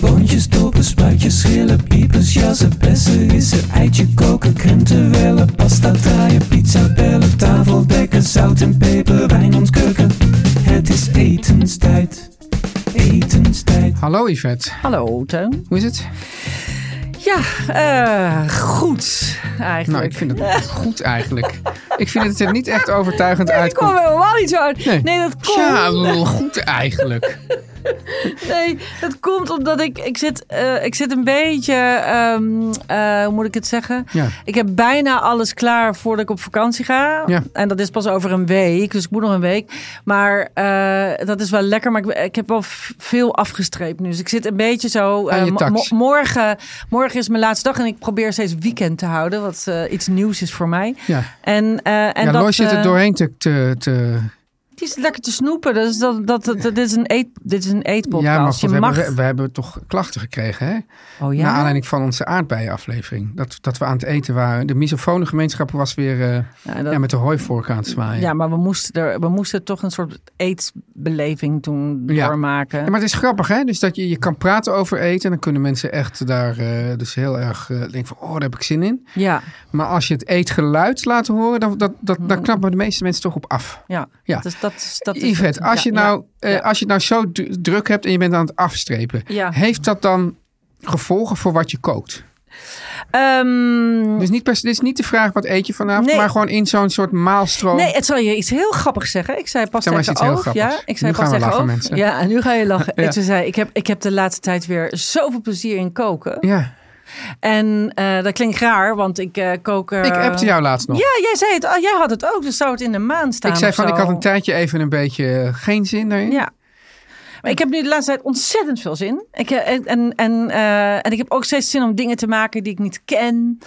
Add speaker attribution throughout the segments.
Speaker 1: Boontjes, dopen, spruitjes, schillen, piepers, jassen, bessen, rissen, eitje koken, krenten wellen, pasta draaien, pizza bellen, tafel dekken, zout en peper, wijn ontkurken. Het is etenstijd, etenstijd.
Speaker 2: Hallo Yvette,
Speaker 3: Hallo Teun.
Speaker 2: hoe is het?
Speaker 3: Ja, eh, goed
Speaker 2: Nou,
Speaker 3: eigenlijk.
Speaker 2: ik vind het goed eigenlijk. Ik vind het er niet echt overtuigend
Speaker 3: Ik kwam
Speaker 2: uitkomt.
Speaker 3: er helemaal niet zo uit.
Speaker 2: Nee.
Speaker 3: Nee, dat komt.
Speaker 2: Ja, wel goed eigenlijk.
Speaker 3: Nee, dat komt omdat ik, ik, zit, eh, ik zit een beetje, ehm, eh, hoe moet ik het zeggen?
Speaker 2: Ja.
Speaker 3: Ik heb bijna alles klaar voordat ik op vakantie ga.
Speaker 2: Ja.
Speaker 3: En dat is pas over een week, dus ik moet nog een week. Maar eh, dat is wel lekker, maar ik, ik heb wel v- veel afgestreept nu. Dus ik zit een beetje zo...
Speaker 2: Aan
Speaker 3: eh,
Speaker 2: je
Speaker 3: mo-
Speaker 2: tax.
Speaker 3: mo- morgen, morgen is mijn laatste dag en ik probeer steeds weekend te houden. Wat eh, iets nieuws is voor mij.
Speaker 2: Ja,
Speaker 3: En, eh, en
Speaker 2: ja
Speaker 3: dat,
Speaker 2: Lois zit er
Speaker 3: eh,
Speaker 2: doorheen te... te, te
Speaker 3: Het is lekker te snoepen. Dus dat, dat, dat- dit, is een eet, dit is een eetpodcast.
Speaker 2: ja, maar goed,
Speaker 3: je
Speaker 2: we,
Speaker 3: mag...
Speaker 2: Hebben, we hebben toch klachten gekregen, hè?
Speaker 3: oh
Speaker 2: Naar
Speaker 3: ja?
Speaker 2: aanleiding van onze aardbeienaflevering. Dat, dat we aan het eten waren. De misofone gemeenschap was weer eh,
Speaker 3: Ja, dat-
Speaker 2: ja, met de hooivork aan het zwaaien.
Speaker 3: ja, maar we moesten, er, we moesten toch een soort eetbeleving toen
Speaker 2: Ja.
Speaker 3: doormaken.
Speaker 2: Ja, maar het is grappig, hè? Dus dat je, je kan praten over eten. En dan kunnen mensen echt daar eh, dus heel erg eh, denken van... Oh, daar heb ik zin in.
Speaker 3: Ja,
Speaker 2: Maar als je het eetgeluid laat horen... dan, dat, dat, daar knappen de meeste mensen toch op af.
Speaker 3: ja.
Speaker 2: Ja.
Speaker 3: Dat is, dat is, Hmm. dat is
Speaker 2: Yvette, als,
Speaker 3: ja,
Speaker 2: je nou,
Speaker 3: ja,
Speaker 2: eh,
Speaker 3: ja.
Speaker 2: als je het nou zo du- druk hebt en je bent aan het afstrepen,
Speaker 3: Ja.
Speaker 2: heeft dat dan gevolgen voor wat je kookt?
Speaker 3: Ehm,
Speaker 2: Dus niet, per, dit is niet de vraag wat eet je vanavond,
Speaker 3: Nee.
Speaker 2: maar gewoon in zo'n soort maalstroom.
Speaker 3: Nee, het zal je iets heel grappigs zeggen. Ik zei pas
Speaker 2: Oh. Zeg maar eens
Speaker 3: tegen
Speaker 2: iets heel
Speaker 3: Oof,
Speaker 2: grappigs.
Speaker 3: Ja, ik zei
Speaker 2: Nu
Speaker 3: pas
Speaker 2: gaan we
Speaker 3: tegen
Speaker 2: lachen,
Speaker 3: Oof.
Speaker 2: mensen.
Speaker 3: Ja, en nu ga je lachen.
Speaker 2: Ja.
Speaker 3: En toen zei ik heb, ik heb de laatste tijd weer zoveel plezier in koken.
Speaker 2: Ja.
Speaker 3: En eh, dat klinkt raar, want ik eh, kook... eh,
Speaker 2: Ik appte jou laatst nog.
Speaker 3: Ja, jij zei het. Oh, jij had het ook. Dus zou het in de maan staan.
Speaker 2: ik zei
Speaker 3: of
Speaker 2: van,
Speaker 3: zo.
Speaker 2: ik had een tijdje even een beetje eh, geen zin daarin.
Speaker 3: Ja. Maar ik heb nu de laatste tijd ontzettend veel zin. Ik, eh, en, en, en, eh, en ik heb ook steeds zin om dingen te maken die ik niet ken.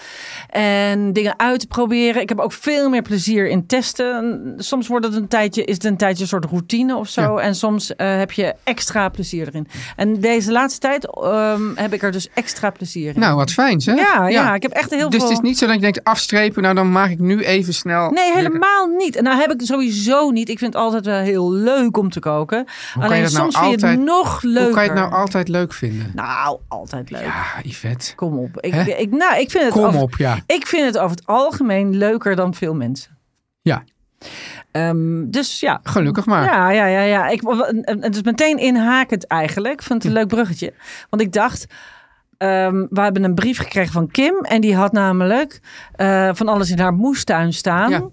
Speaker 3: En dingen uit te proberen. Ik heb ook veel meer plezier in testen. En Soms wordt het een tijdje, is het een tijdje een soort routine of zo. En soms eh, heb je extra plezier erin. En deze laatste tijd ehm, heb ik er dus extra plezier in.
Speaker 2: Nou, wat fijn, hè?
Speaker 3: ja, ja. ik heb echt heel
Speaker 2: dus
Speaker 3: veel...
Speaker 2: het is niet zo dat je denkt, afstrepen, nou dan maak ik nu even snel...
Speaker 3: Nee,
Speaker 2: weer-
Speaker 3: helemaal niet. En nou heb ik sowieso niet. Ik vind het altijd wel heel leuk om te koken.
Speaker 2: kan
Speaker 3: Alleen
Speaker 2: je dat nou
Speaker 3: soms vind je het
Speaker 2: altijd-
Speaker 3: nog leuker.
Speaker 2: Hoe kan je het nou altijd leuk vinden?
Speaker 3: Nou, altijd leuk.
Speaker 2: Ja, Yvette.
Speaker 3: Kom op. Ik,
Speaker 2: Hè?
Speaker 3: ik, nou, ik vind het
Speaker 2: Kom
Speaker 3: over-
Speaker 2: op, ja.
Speaker 3: Ik vind het over het algemeen leuker dan veel mensen.
Speaker 2: Ja,
Speaker 3: Ehm, dus ja.
Speaker 2: gelukkig maar.
Speaker 3: Ja, ja, ja. ja. Ik, en- en het is meteen inhakend eigenlijk. Ik vind
Speaker 2: Hm.
Speaker 3: het een leuk bruggetje. Want ik dacht... ehm, we hebben een brief gekregen van Kim. En die had namelijk eh, van alles in haar moestuin staan.
Speaker 2: Ja.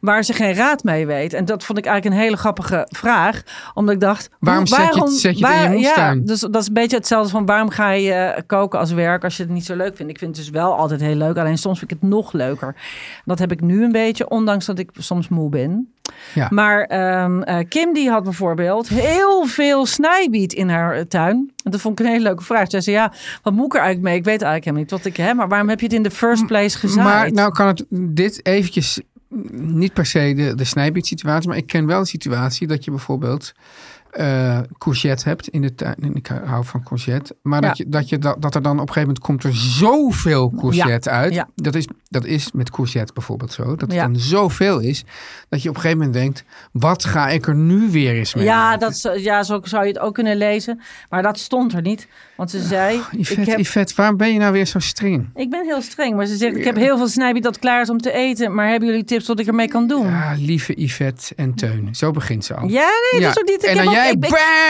Speaker 3: Waar ze geen raad mee weet. En dat vond ik eigenlijk een hele grappige vraag. Omdat ik dacht... hoe-
Speaker 2: Waarom zet je het- zet je het in je moestuin?
Speaker 3: Ja, dus dat is een beetje hetzelfde van waarom ga je eh, koken als werk als je het niet zo leuk vindt. Ik vind het dus wel altijd heel leuk. Alleen soms vind ik het nog leuker. Dat heb ik nu een beetje. Ondanks dat ik soms moe ben.
Speaker 2: Ja.
Speaker 3: Maar ehm, eh, Kim die had bijvoorbeeld heel veel snijbiet in haar eh, tuin. En dat vond ik een hele leuke vraag. Zij zei, ja, wat moet ik er eigenlijk mee? Ik weet eigenlijk helemaal niet wat ik heb. Maar waarom heb je het in de first place gezaaid?
Speaker 2: Maar nou kan het dit eventjes mm, niet per se de, de snijbiedsituatie, maar ik ken wel de situatie dat je bijvoorbeeld eh courgette hebt in de tuin. En ik hou van courgette. Maar dat,
Speaker 3: Ja.
Speaker 2: je, dat, je, dat, dat er dan op een gegeven moment komt er zoveel courgette uit.
Speaker 3: ja.
Speaker 2: Dat, is, dat is met courgette bijvoorbeeld zo. Dat het
Speaker 3: Ja.
Speaker 2: dan zoveel is dat je op een gegeven moment denkt, wat ga ik er nu weer eens mee?
Speaker 3: ja,
Speaker 2: maken?
Speaker 3: dat, zo- ja, zo zou je het ook kunnen lezen. Maar dat stond er niet. Want ze zei, ik,
Speaker 2: Yvette,
Speaker 3: heb,
Speaker 2: Yvette, waarom ben je nou weer zo streng?
Speaker 3: ik ben heel streng. Maar ze zegt, ik heb heel veel snijbiet dat klaar is om te eten. Maar hebben jullie tips wat ik ermee kan doen? Ja,
Speaker 2: Ja, lieve Yvette en Teun. Zo begint ze al.
Speaker 3: nee, dat is ook niet.
Speaker 2: En
Speaker 3: Ik heb
Speaker 2: dan
Speaker 3: al-
Speaker 2: jij,
Speaker 3: ik- ik-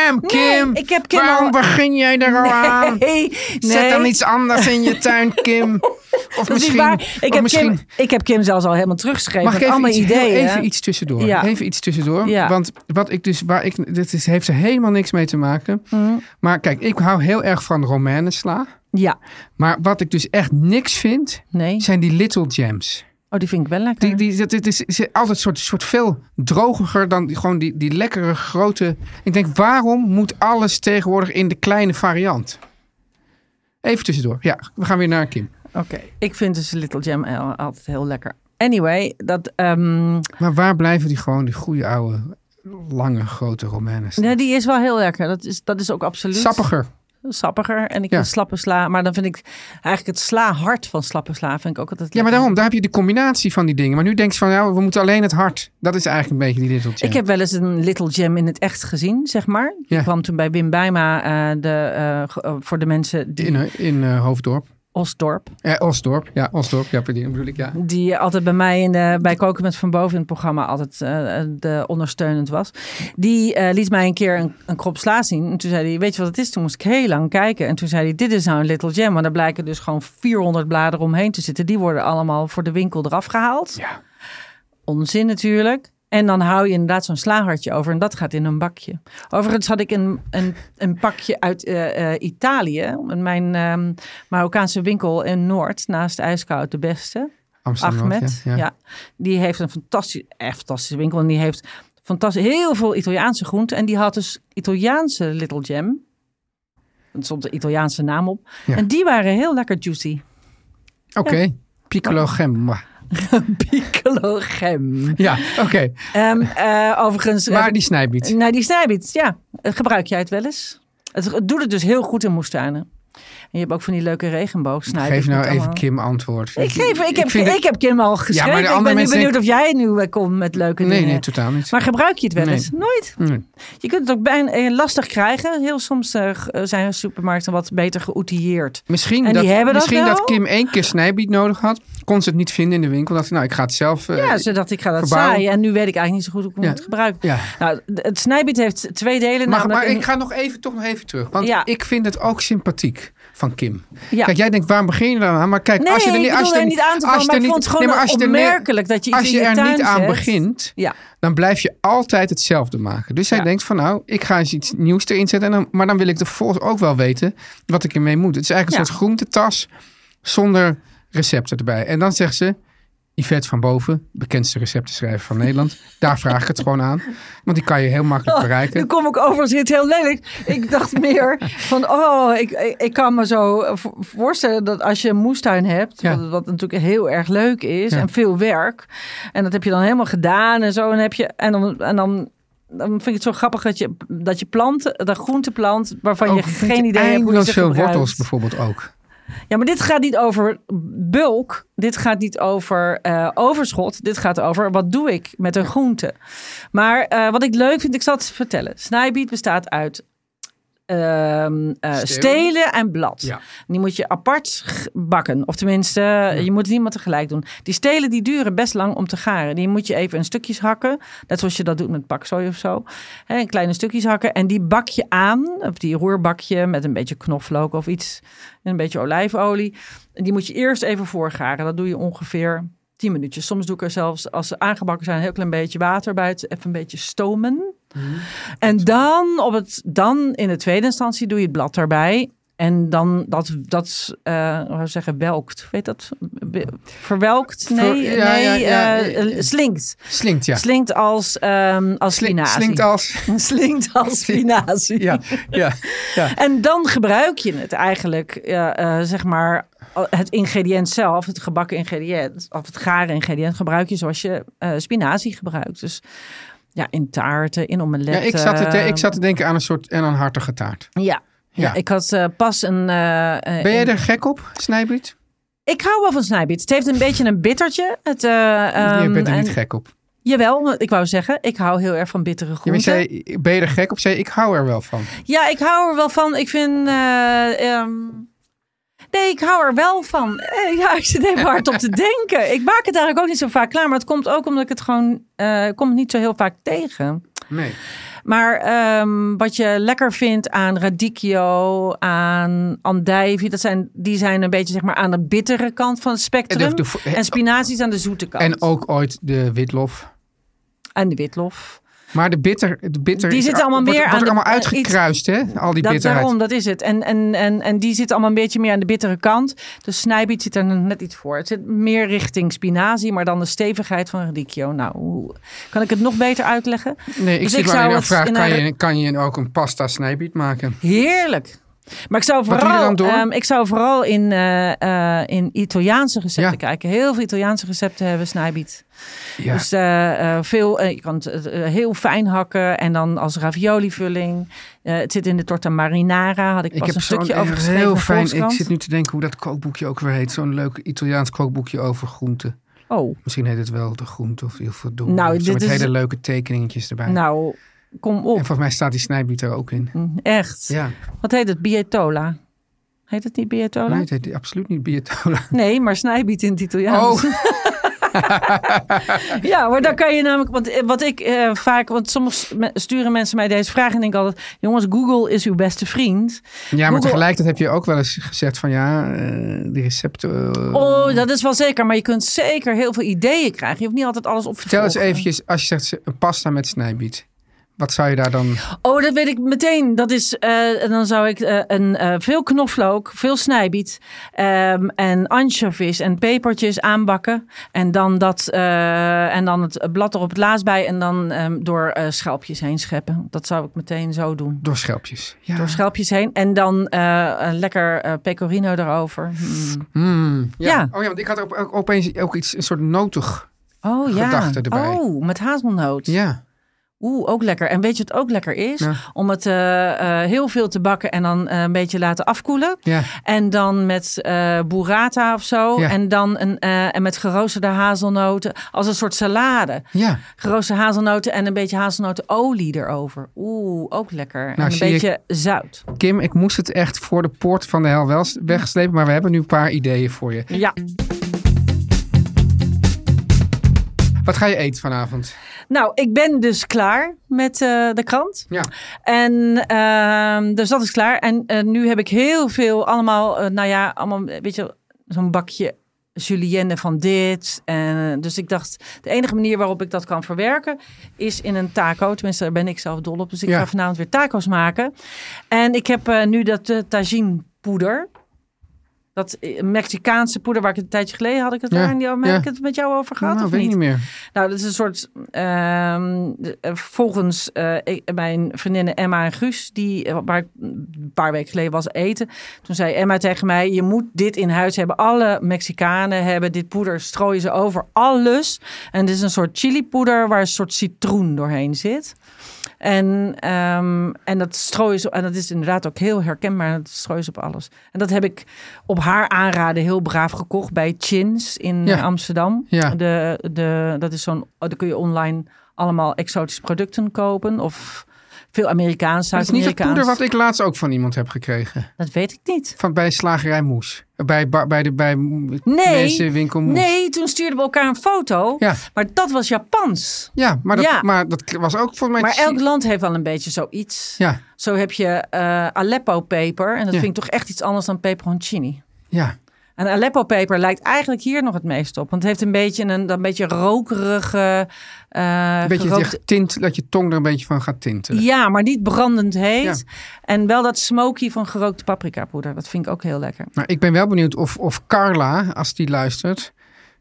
Speaker 2: bam, Kim.
Speaker 3: Nee, ik heb Kim
Speaker 2: Waarom
Speaker 3: al-
Speaker 2: begin jij er al aan?
Speaker 3: Nee,
Speaker 2: Zet
Speaker 3: nee.
Speaker 2: dan iets anders in je tuin, Kim. Of
Speaker 3: Dat is
Speaker 2: misschien-
Speaker 3: waar. Ik
Speaker 2: of
Speaker 3: heb, Kim,
Speaker 2: misschien-
Speaker 3: ik heb Kim zelfs al helemaal teruggeschreven.
Speaker 2: Mag ik even,
Speaker 3: allemaal
Speaker 2: iets, heel
Speaker 3: ideeën.
Speaker 2: even iets tussendoor?
Speaker 3: Ja.
Speaker 2: Even iets tussendoor.
Speaker 3: Ja.
Speaker 2: Want wat ik dus, waar ik, dit is, heeft er helemaal niks mee te maken.
Speaker 3: Mm.
Speaker 2: Maar kijk, ik hou heel erg van romanen sla.
Speaker 3: Ja,
Speaker 2: Maar wat ik dus echt niks vind,
Speaker 3: nee.
Speaker 2: zijn die little gems.
Speaker 3: Oh, die vind ik wel lekker.
Speaker 2: Die, die, dat, het is, is altijd een soort, soort veel droger dan die, gewoon die, die lekkere grote. Ik denk, waarom moet alles tegenwoordig in de kleine variant? Even tussendoor. Ja, we gaan weer naar Kim.
Speaker 3: Oké. Ik vind dus Little Jam al- altijd heel lekker. Anyway, dat, ehm,
Speaker 2: Maar waar blijven die gewoon, die goede oude, lange, grote romanen? sla?
Speaker 3: nee, die is wel heel lekker. Dat is, dat is ook absoluut.
Speaker 2: Sappiger.
Speaker 3: Sappiger. En ik
Speaker 2: Ja.
Speaker 3: vind slappe sla. Maar dan vind ik eigenlijk het sla hart van slappe sla vind ik ook
Speaker 2: Ja,
Speaker 3: altijd
Speaker 2: maar
Speaker 3: lekker.
Speaker 2: daarom, daar heb je de combinatie van die dingen. Maar nu denk je van, ja, we moeten alleen het hart. Dat is eigenlijk een beetje die little jam.
Speaker 3: Ik heb wel eens een Little Jam in het echt gezien, zeg maar. Die
Speaker 2: Ja.
Speaker 3: kwam toen bij Wim Bijma eh, de, eh, ge- eh, voor de mensen die...
Speaker 2: In, eh, in eh, Hoofddorp.
Speaker 3: Osdorp.
Speaker 2: Eh, Osdorp. Ja, Osdorp. Ja, bedoel ik, ja.
Speaker 3: Die altijd bij mij in de, bij Koken met Van Boven in het programma altijd eh, de ondersteunend was. Die eh, liet mij een keer een, een krop sla zien. En toen zei hij, weet je wat het is? Toen moest ik heel lang kijken. En toen zei hij, dit is nou een Little Jam. Maar daar blijken dus gewoon 400 bladeren omheen te zitten. Die worden allemaal voor de winkel eraf gehaald.
Speaker 2: Ja.
Speaker 3: Onzin natuurlijk. En dan hou je inderdaad zo'n slahartje over. En dat gaat in een bakje. Overigens had ik een, een, een pakje uit eh, eh, Italië. In mijn ehm, Marokkaanse winkel in Noord. Naast IJskoud de beste.
Speaker 2: Amsterdam.
Speaker 3: Ahmed. Ja,
Speaker 2: ja.
Speaker 3: Die heeft een fantastische, echt fantastische winkel. En die heeft fantastisch, heel veel Italiaanse groenten. En die had dus Italiaanse Little Jam. Er stond de Italiaanse naam op.
Speaker 2: Ja.
Speaker 3: En die waren heel lekker juicy.
Speaker 2: Oké. Piccolo gemma.
Speaker 3: Piccolo gem.
Speaker 2: Ja, oké.
Speaker 3: Ehm, eh, overigens... eh,
Speaker 2: Maar die snijbiet.
Speaker 3: Nou, die snijbiet, ja. Eh, Gebruik jij het wel eens? Het, het doet het dus heel goed in moestuinen. En je hebt ook van die leuke regenboogsnijbiet.
Speaker 2: Geef nou
Speaker 3: met
Speaker 2: even
Speaker 3: allemaal-
Speaker 2: Kim antwoord.
Speaker 3: Ik, geef, ik, heb, ik,
Speaker 2: vind het-
Speaker 3: heb Kim al geschreven.
Speaker 2: andere
Speaker 3: ik ben nu
Speaker 2: mensen
Speaker 3: benieuwd
Speaker 2: denken-
Speaker 3: of jij nu eh, komt met leuke
Speaker 2: Nee,
Speaker 3: dingen.
Speaker 2: nee, totaal niet.
Speaker 3: Maar gebruik je het wel
Speaker 2: Nee.
Speaker 3: eens? Nooit.
Speaker 2: Nee.
Speaker 3: Je kunt het ook bijna eh, lastig krijgen. Heel soms eh, g- eh, zijn supermarkten wat beter geoutilleerd.
Speaker 2: Misschien,
Speaker 3: En die
Speaker 2: dat,
Speaker 3: hebben dat
Speaker 2: misschien
Speaker 3: wel?
Speaker 2: dat Kim één keer snijbiet nodig had. Kon ze het niet vinden in de winkel. Dacht ze, nou, ik ga het zelf... eh,
Speaker 3: Ja, zodat ik ga dat
Speaker 2: verbouwen.
Speaker 3: zaaien. En nu weet ik eigenlijk niet zo goed hoe ik
Speaker 2: Ja.
Speaker 3: moet gebruiken.
Speaker 2: ja.
Speaker 3: Nou, d- het snijbiet heeft twee delen.
Speaker 2: Maar,
Speaker 3: namelijk
Speaker 2: maar
Speaker 3: een-
Speaker 2: ik ga nog even, toch nog even terug. Want
Speaker 3: Ja.
Speaker 2: ik vind het ook sympathiek van Kim.
Speaker 3: Ja.
Speaker 2: Kijk, jij denkt, waarom begin je dan aan? Maar kijk,
Speaker 3: Nee,
Speaker 2: als je er
Speaker 3: ik
Speaker 2: niet, als
Speaker 3: bedoel
Speaker 2: je er
Speaker 3: er niet aan te
Speaker 2: als
Speaker 3: vallen,
Speaker 2: je
Speaker 3: maar
Speaker 2: er
Speaker 3: ik
Speaker 2: niet-
Speaker 3: vond het gewoon
Speaker 2: nee, maar als je er ne-
Speaker 3: opmerkelijk dat je iets
Speaker 2: Als
Speaker 3: in
Speaker 2: je
Speaker 3: je
Speaker 2: er
Speaker 3: tuin
Speaker 2: niet aan
Speaker 3: zet.
Speaker 2: begint,
Speaker 3: Ja.
Speaker 2: dan blijf je altijd hetzelfde maken. Dus hij
Speaker 3: Ja.
Speaker 2: denkt van nou, ik ga eens iets nieuws erin zetten. En dan, maar dan wil ik er volgens ook wel weten wat ik ermee moet. Het is eigenlijk een
Speaker 3: Ja.
Speaker 2: soort groentetas zonder recepten erbij. En dan zegt ze, Yvette van Boven, bekendste receptenschrijver van Nederland. Daar vraag ik het gewoon aan. Want die kan je heel makkelijk
Speaker 3: Oh,
Speaker 2: bereiken.
Speaker 3: nu kom ik over als iets heel lelijk. Ik dacht meer van, oh, ik, ik, ik kan me zo eh, vo- voorstellen dat als je een moestuin hebt,
Speaker 2: Ja.
Speaker 3: wat, wat natuurlijk heel erg leuk is
Speaker 2: Ja.
Speaker 3: en veel werk, en dat heb je dan helemaal gedaan en zo, en, heb je, en, dan, en dan, dan vind ik het zo grappig dat je, dat je planten, dat groente plant, waarvan je
Speaker 2: Ook vindt
Speaker 3: geen idee hebt hoe je
Speaker 2: eindeloos
Speaker 3: ze
Speaker 2: veel
Speaker 3: gebruikt.
Speaker 2: wortels bijvoorbeeld ook.
Speaker 3: Ja, maar dit gaat niet over bulk. Dit gaat niet over eh, overschot. Dit gaat over wat doe ik met een groente. Maar eh, wat ik leuk vind, ik zal het vertellen. Snijbiet bestaat uit ehm, eh,
Speaker 2: Stelen.
Speaker 3: stelen en blad.
Speaker 2: Ja.
Speaker 3: Die moet je apart g- bakken. Of tenminste, je moet het niemand tegelijk doen. Die stelen die duren best lang om te garen. Die moet je even in stukjes hakken. Net zoals je dat doet met bakzooi of zo. Hè, in kleine stukjes hakken. En die bak je aan. Of die roerbakje met een beetje knoflook of iets. En een beetje olijfolie. En die moet je eerst even voorgaren. Dat doe je ongeveer 10 minuutjes. Soms doe ik er zelfs, als ze aangebakken zijn, een heel klein beetje water bij. Het even een beetje stomen.
Speaker 2: Mhm.
Speaker 3: En dan, op het, dan in de tweede instantie doe je het blad erbij. En dan dat, dat eh, hoe zou ik zeggen, welkt. Weet dat? Be- Verwelkt? Nee,
Speaker 2: ja,
Speaker 3: nee
Speaker 2: ja, ja,
Speaker 3: eh,
Speaker 2: ja, ja.
Speaker 3: slinkt.
Speaker 2: Slinkt, ja.
Speaker 3: Slinkt als, ehm als
Speaker 2: Slink-
Speaker 3: spinazie.
Speaker 2: Slinkt als...
Speaker 3: Slinkt als spinazie.
Speaker 2: Ja, ja, ja.
Speaker 3: En dan gebruik je het eigenlijk, eh, eh, zeg maar, het ingrediënt zelf, het gebakken ingrediënt, of het garen ingrediënt, gebruik je zoals je eh, spinazie gebruikt. Dus ja, in taarten, in
Speaker 2: Ja,
Speaker 3: omeletten.
Speaker 2: ik, zat
Speaker 3: eh,
Speaker 2: te, ik zat te denken aan een soort en aan hartige taart.
Speaker 3: Ja, ja.
Speaker 2: Ja.
Speaker 3: ik had eh, pas een... eh, eh,
Speaker 2: Ben jij
Speaker 3: een-
Speaker 2: er gek op, snijbiet?
Speaker 3: Ik hou wel van snijbiet. Het heeft een beetje een bittertje. Het, eh,
Speaker 2: je
Speaker 3: ehm,
Speaker 2: bent er niet
Speaker 3: en-
Speaker 2: gek op.
Speaker 3: Jawel, ik wou zeggen, ik hou heel erg van bittere
Speaker 2: Ja, maar
Speaker 3: groenten.
Speaker 2: zei, ben je er gek op? Zei, ik hou er wel van.
Speaker 3: Ja, ik hou er wel van. Ik vind. eh, ehm, Nee, ik hou er wel van. Eh, Ja, ik zit even hard op te denken. Ik maak het eigenlijk ook niet zo vaak klaar. Maar het komt ook omdat ik het gewoon... eh komt niet zo heel vaak tegen.
Speaker 2: Nee.
Speaker 3: Maar ehm, wat je lekker vindt aan radicchio, aan andijvie, dat zijn, die zijn een beetje zeg maar, aan de bittere kant van het spectrum.
Speaker 2: En de- de-
Speaker 3: en spinazie is aan de zoete kant.
Speaker 2: En ook ooit de witlof.
Speaker 3: En de witlof.
Speaker 2: Maar de bitter, de bitter
Speaker 3: Die
Speaker 2: is-
Speaker 3: zitten allemaal
Speaker 2: wordt,
Speaker 3: meer
Speaker 2: wordt
Speaker 3: aan
Speaker 2: er
Speaker 3: de-
Speaker 2: allemaal
Speaker 3: eh, iets-
Speaker 2: uitgekruist, hè? Al die
Speaker 3: Dat,
Speaker 2: bitterheid.
Speaker 3: daarom, dat is het. En, en, en, en die zit allemaal een beetje meer aan de bittere kant. De snijbiet zit er net iets voor. Het zit meer richting spinazie, maar dan de stevigheid van radicchio. Nou, hoe- kan ik het nog beter uitleggen?
Speaker 2: Nee, ik
Speaker 3: Dus
Speaker 2: zit
Speaker 3: ik
Speaker 2: maar
Speaker 3: zou
Speaker 2: in de
Speaker 3: het
Speaker 2: vraag,
Speaker 3: in
Speaker 2: kan,
Speaker 3: een-
Speaker 2: je, kan je ook een pasta snijbiet maken?
Speaker 3: Heerlijk. Maar ik zou
Speaker 2: doe je
Speaker 3: vooral,
Speaker 2: dan door?
Speaker 3: ehm, ik zou vooral in, eh, eh, in Italiaanse recepten
Speaker 2: Ja.
Speaker 3: kijken. Heel veel Italiaanse recepten hebben snijbiet.
Speaker 2: Ja.
Speaker 3: Dus eh, eh, veel, eh, je kan het eh, heel fijn hakken en dan als raviolivulling. Eh, het zit in de torta marinara, had ik
Speaker 2: ik
Speaker 3: pas
Speaker 2: heb
Speaker 3: een
Speaker 2: zo'n
Speaker 3: stukje over
Speaker 2: erg
Speaker 3: geschreven.
Speaker 2: heel
Speaker 3: in de
Speaker 2: fijn. Ik
Speaker 3: Volkskrant.
Speaker 2: zit nu te denken hoe dat kookboekje ook weer heet. Zo'n leuk Italiaans kookboekje over groenten.
Speaker 3: Oh,
Speaker 2: Misschien heet het wel de groente of heel veel doen.
Speaker 3: Nou,
Speaker 2: Zo
Speaker 3: dit
Speaker 2: met
Speaker 3: is-
Speaker 2: hele leuke tekeningetjes erbij.
Speaker 3: nou, kom
Speaker 2: En
Speaker 3: op.
Speaker 2: volgens mij staat die snijbiet er ook in.
Speaker 3: Echt.
Speaker 2: Ja,
Speaker 3: Wat heet het? Bietola. Heet het niet Bietola?
Speaker 2: nee,
Speaker 3: Nee,
Speaker 2: het heet absoluut niet bietola.
Speaker 3: maar snijbiet in het Italiaans.
Speaker 2: Oh,
Speaker 3: Ja, maar dan kan je namelijk, want eh, wat ik eh, vaak, want soms me- sturen mensen mij deze vraag en denk ik altijd, jongens, Google is uw beste vriend.
Speaker 2: ja, maar
Speaker 3: Google-
Speaker 2: tegelijkertijd heb je ook wel eens gezegd van ja, eh, die recepten... eh,
Speaker 3: Oh, dat is wel zeker, maar je kunt zeker heel veel ideeën krijgen. Je hoeft niet altijd alles op te
Speaker 2: Vertel eens
Speaker 3: volgen.
Speaker 2: eventjes, als je zegt een pasta met snijbiet. Wat zou je daar dan...
Speaker 3: Oh, dat weet ik meteen. Dat is, eh, en dan zou ik eh, een, eh, veel knoflook, veel snijbiet ehm, en anchovies en pepertjes aanbakken. En dan, dat, eh, en dan het blad er op het laatst bij en dan ehm, door eh, schelpjes heen scheppen. Dat zou ik meteen zo doen.
Speaker 2: Door schelpjes. Ja.
Speaker 3: Door schelpjes heen. En dan eh, een lekker eh, pecorino erover. Hmm.
Speaker 2: Mm, ja.
Speaker 3: Ja.
Speaker 2: Oh ja, want ik had op, ook opeens ook iets, een soort notig.
Speaker 3: Oh ja.
Speaker 2: Gedachten erbij.
Speaker 3: Oh, met hazelnoot.
Speaker 2: Ja.
Speaker 3: Oeh, ook lekker. En weet je wat ook lekker is?
Speaker 2: Ja.
Speaker 3: Om het eh, eh, heel veel te bakken en dan eh, een beetje laten afkoelen.
Speaker 2: Ja.
Speaker 3: En dan met eh burrata of zo.
Speaker 2: Ja.
Speaker 3: En dan een, eh, en met geroosterde hazelnoten. Als een soort salade.
Speaker 2: Ja.
Speaker 3: Geroosterde hazelnoten en een beetje hazelnotenolie erover. Oeh, ook lekker. en een
Speaker 2: Nou, zie ik-
Speaker 3: beetje zout.
Speaker 2: Kim, ik moest het echt voor de poort van de hel wel s- wegslepen, maar we hebben nu een paar ideeën voor je.
Speaker 3: Ja.
Speaker 2: Wat ga je eten vanavond?
Speaker 3: Nou, ik ben dus klaar met eh, de krant.
Speaker 2: Ja.
Speaker 3: En ehm, dus dat is klaar. En eh, nu heb ik heel veel allemaal, eh, nou ja, allemaal, eh, weet je, zo'n bakje julienne van dit. En, dus ik dacht, de enige manier waarop ik dat kan verwerken is in een taco. Tenminste, daar ben ik zelf dol op. Dus ik
Speaker 2: Ja.
Speaker 3: ga vanavond weer taco's maken. En ik heb eh, nu dat eh, tagine poeder. Dat eh, Mexicaanse poeder waar ik het een tijdje geleden had ik het
Speaker 2: Ja,
Speaker 3: daar in die, heb
Speaker 2: ja.
Speaker 3: ik het met jou over gehad
Speaker 2: nou,
Speaker 3: of
Speaker 2: weet ik
Speaker 3: niet?
Speaker 2: niet meer.
Speaker 3: Nou, dat is een soort. ehm, de- eh, volgens eh, ik- mijn vriendinnen Emma en Guus, die, eh, waar ik een paar weken geleden was eten. Toen zei Emma tegen mij: Je moet dit in huis hebben. Alle Mexicanen hebben dit poeder, strooien ze over alles. En dit is een soort chilipoeder waar een soort citroen doorheen zit. En, ehm, en dat strooien ze, en dat is inderdaad ook heel herkenbaar, dat strooien ze op alles. En dat heb ik op haar aanraden heel braaf gekocht bij Chins in
Speaker 2: Ja.
Speaker 3: eh, Amsterdam.
Speaker 2: Ja.
Speaker 3: De, de, dat is zo'n, daar kun je online allemaal exotische producten kopen of veel Amerikaans,
Speaker 2: Dat is niet dat
Speaker 3: Zuid-Amerikaans.
Speaker 2: poeder wat ik laatst ook van iemand heb gekregen.
Speaker 3: Dat weet ik niet.
Speaker 2: Van bij slagerij Moes. Bij, ba- bij de bij nee. winkel Moes.
Speaker 3: nee, toen stuurden we elkaar een foto,
Speaker 2: Ja.
Speaker 3: maar dat was Japans.
Speaker 2: Ja, maar dat,
Speaker 3: Ja.
Speaker 2: Maar dat was ook volgens mij...
Speaker 3: Maar elk land heeft wel een beetje zoiets.
Speaker 2: Ja,
Speaker 3: Zo heb je eh, Aleppo-peper. En dat
Speaker 2: Ja.
Speaker 3: vind ik toch echt iets anders dan peperoncini.
Speaker 2: ja.
Speaker 3: En Aleppo-peper lijkt eigenlijk hier nog het meest op. Want het heeft een beetje een, een beetje rokerige... eh,
Speaker 2: Een beetje
Speaker 3: gerookt-
Speaker 2: dat je tint, dat je tong er een beetje van gaat tintelen.
Speaker 3: Ja, maar niet brandend heet. En wel dat smoky van gerookte paprikapoeder. Dat vind ik ook heel lekker.
Speaker 2: Maar ik ben wel benieuwd of, of Carla, als die luistert,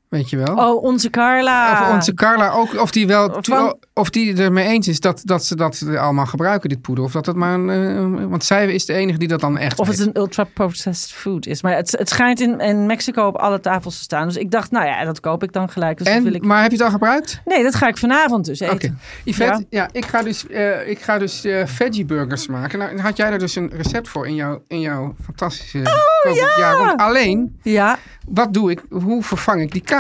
Speaker 2: weet je wel.
Speaker 3: Oh, onze Carla.
Speaker 2: Of onze Carla ook, of die wel,
Speaker 3: Van-
Speaker 2: of die ermee eens is dat, dat ze dat allemaal gebruiken, dit poeder. Of dat het maar een, eh, want zij is de enige die dat dan echt
Speaker 3: Of het
Speaker 2: eet.
Speaker 3: een ultra-processed food is. Maar het, het schijnt in, in Mexico op alle tafels te staan. Dus ik dacht, nou ja, dat koop ik dan gelijk. Dus dat
Speaker 2: en,
Speaker 3: wil ik...
Speaker 2: Maar heb je het al gebruikt?
Speaker 3: Nee, dat ga ik vanavond dus eten.
Speaker 2: Oké. Yvette, ja. ik ga dus, eh, ik ga dus eh, veggie burgers maken. Nou, had jij daar dus een recept voor in jouw, in jouw fantastische oh, ja. rond. Alleen,
Speaker 3: Ja.
Speaker 2: wat doe ik? Hoe vervang ik die kaas?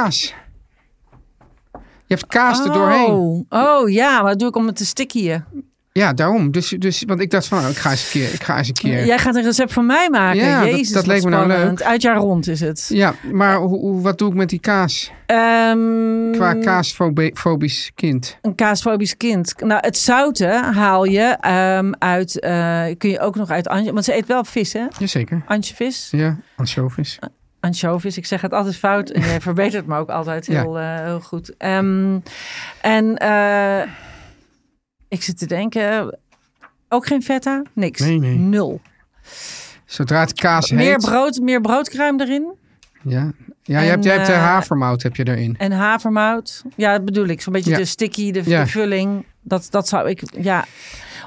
Speaker 2: Je hebt kaas er doorheen.
Speaker 3: Oh, oh ja, maar dat doe ik om het te stickyen.
Speaker 2: Ja, daarom. Dus, dus, want ik dacht van, nou, ik ga eens een keer. Ik ga eens een keer. Ja,
Speaker 3: Jij gaat een recept van mij maken.
Speaker 2: Ja, dat-
Speaker 3: Jezus,
Speaker 2: dat leek
Speaker 3: wat
Speaker 2: me nou
Speaker 3: spannend. Uit jaar rond is het.
Speaker 2: maar hoe, hoe- wat doe ik met die kaas?
Speaker 3: Ehm,
Speaker 2: Qua kaasfobisch kind.
Speaker 3: Een kaasfobisch kind. Nou, het zouten haal je ehm, uit... eh, kun je ook nog uit... ansjo- Want ze eet wel vis, hè?
Speaker 2: Jazeker.
Speaker 3: Ansjovis.
Speaker 2: Ja, anchovies.
Speaker 3: Anchovies. Ik zeg het altijd fout. En jij verbetert me ook altijd
Speaker 2: Ja.
Speaker 3: heel, eh, heel goed. Ehm, en eh, ik zit te denken... Ook geen feta? Niks.
Speaker 2: Nee, nee.
Speaker 3: Nul.
Speaker 2: Zodra het kaas heet.
Speaker 3: Meer brood, meer broodkruim erin.
Speaker 2: Ja, ja je
Speaker 3: En,
Speaker 2: hebt, je hebt eh,
Speaker 3: eh,
Speaker 2: havermout heb je erin.
Speaker 3: En havermout. Ja, dat bedoel ik. Zo'n beetje
Speaker 2: Ja.
Speaker 3: de sticky, de,
Speaker 2: Ja.
Speaker 3: de vulling. Dat, dat zou ik, ja.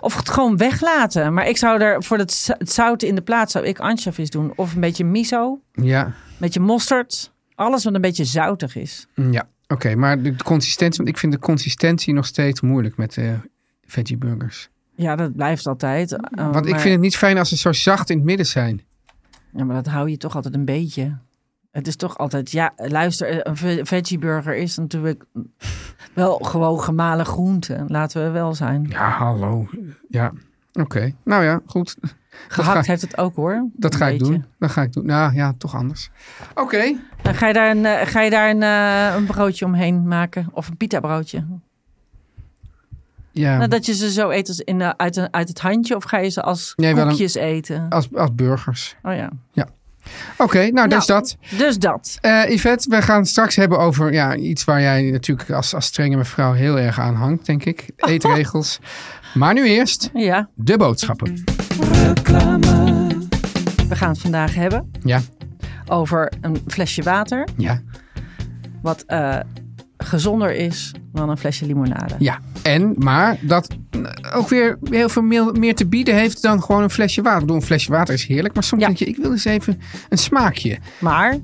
Speaker 3: Of het gewoon weglaten. Maar ik zou er voor het, z- het zout in de plaats zou ik anchovies doen. Of een beetje miso,
Speaker 2: Ja,
Speaker 3: een beetje mosterd. Alles wat een beetje zoutig is.
Speaker 2: Mm, ja. oké. maar de, de consistentie, want ik vind de consistentie nog steeds moeilijk met eh veggie burgers.
Speaker 3: Ja, dat blijft altijd. Eh,
Speaker 2: want ik
Speaker 3: maar-
Speaker 2: vind het niet fijn als ze zo zacht in het midden zijn.
Speaker 3: Ja, maar dat hou je toch altijd een beetje. Het is toch altijd, ja, luister, eh, een ve- veggieburger is natuurlijk wel gewoon gemalen groente. Laten we wel zijn.
Speaker 2: Ja, hallo. Ja, oké. Nou ja, goed.
Speaker 3: Gehakt
Speaker 2: ga-
Speaker 3: heeft het ook hoor.
Speaker 2: Dat
Speaker 3: Een
Speaker 2: ga ik
Speaker 3: beetje.
Speaker 2: doen. Dat ga ik doen. Nou ja, toch anders. Oké.
Speaker 3: Dan ga je daar een, eh, ga je daar een, eh, een broodje omheen maken. Of een pita broodje.
Speaker 2: Ja,
Speaker 3: Nou, dat je ze zo eet als in, eh, uit, een, uit het handje. Of ga je ze als
Speaker 2: Nee, wel een-
Speaker 3: koekjes eten.
Speaker 2: als, als burgers.
Speaker 3: Oh ja.
Speaker 2: Oké, nou, dus
Speaker 3: Nou.
Speaker 2: dat.
Speaker 3: Dus dat.
Speaker 2: Eh Yvette, we gaan het straks hebben over ja, iets waar jij natuurlijk als, als strenge mevrouw heel erg aan hangt, denk ik. Eetregels. Maar nu eerst
Speaker 3: Ja,
Speaker 2: de boodschappen.
Speaker 3: we gaan het vandaag hebben
Speaker 2: Ja,
Speaker 3: over een flesje water.
Speaker 2: ja,
Speaker 3: Wat eh, gezonder is dan een flesje limonade.
Speaker 2: ja. En, maar dat eh, ook weer heel veel meer, meer te bieden heeft dan gewoon een flesje water. Ik bedoel, een flesje water is heerlijk, maar soms
Speaker 3: Ja.
Speaker 2: denk je, ik wil eens even een smaakje.
Speaker 3: Maar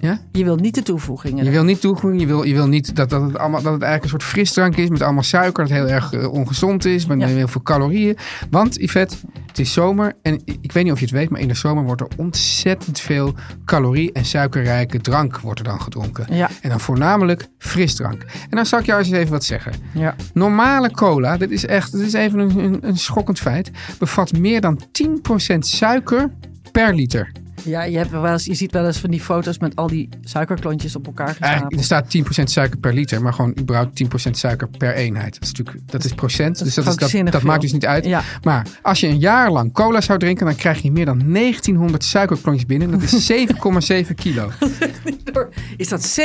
Speaker 2: Ja?
Speaker 3: je wilt niet de toevoegingen.
Speaker 2: Je wil niet toegroeien, je wil, je wil niet dat, dat, het allemaal, dat het eigenlijk een soort frisdrank is met allemaal suiker, dat heel erg eh, ongezond is, met
Speaker 3: Ja.
Speaker 2: heel veel calorieën. Want Yvette, het is zomer en i- ik weet niet of je het weet, maar in de zomer wordt er ontzettend veel calorie- en suikerrijke drank wordt er dan gedronken.
Speaker 3: Ja.
Speaker 2: En dan voornamelijk frisdrank. En dan zal ik jou eens even wat zeggen.
Speaker 3: Ja.
Speaker 2: Normale cola, dit is echt dit is even een, een, een schokkend feit, bevat meer dan 10% suiker per liter.
Speaker 3: Ja, je, hebt wel eens, je ziet wel eens van die foto's met al die suikerklontjes op elkaar gestapeld.
Speaker 2: Eigenlijk, Eh, er staat 10% suiker per liter, maar gewoon überhaupt 10% suiker per eenheid. Dat is natuurlijk dat is procent, dus dat, is, dat,
Speaker 3: krankzinnig
Speaker 2: dat
Speaker 3: veel.
Speaker 2: maakt dus niet uit.
Speaker 3: Ja.
Speaker 2: Maar als je een jaar lang cola zou drinken, dan krijg je meer dan 1900 suikerklontjes binnen. Dat is 7,7 kilo.
Speaker 3: Is dat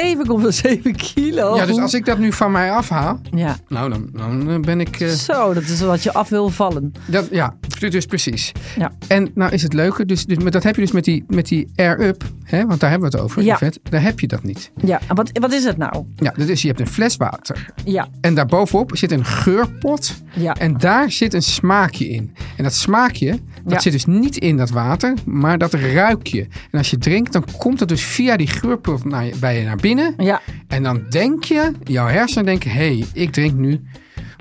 Speaker 3: 7,7 kilo?
Speaker 2: Ja, dus als ik dat nu van mij afhaal,
Speaker 3: Ja.
Speaker 2: nou dan, dan eh, ben ik... eh,
Speaker 3: Zo, dat is wat je af wil vallen.
Speaker 2: dat, ja, dus precies.
Speaker 3: Ja.
Speaker 2: En nou is het leuke, dus, dus, maar dat heb je dus met die, met die air-up, hè, want daar hebben we het over,
Speaker 3: Ja.
Speaker 2: Yvette, daar heb je dat niet.
Speaker 3: Ja, en wat, wat is het nou?
Speaker 2: Ja, dus je hebt een fles water.
Speaker 3: Ja,
Speaker 2: En daarbovenop zit een geurpot.
Speaker 3: Ja.
Speaker 2: En daar zit een smaakje in. En dat smaakje, dat
Speaker 3: Ja.
Speaker 2: zit dus niet in dat water, maar dat ruik je. En als je drinkt, dan komt dat dus via die geurpot naar je, bij je naar binnen.
Speaker 3: ja.
Speaker 2: En dan denk je, jouw hersenen denken, hé, hey, ik drink nu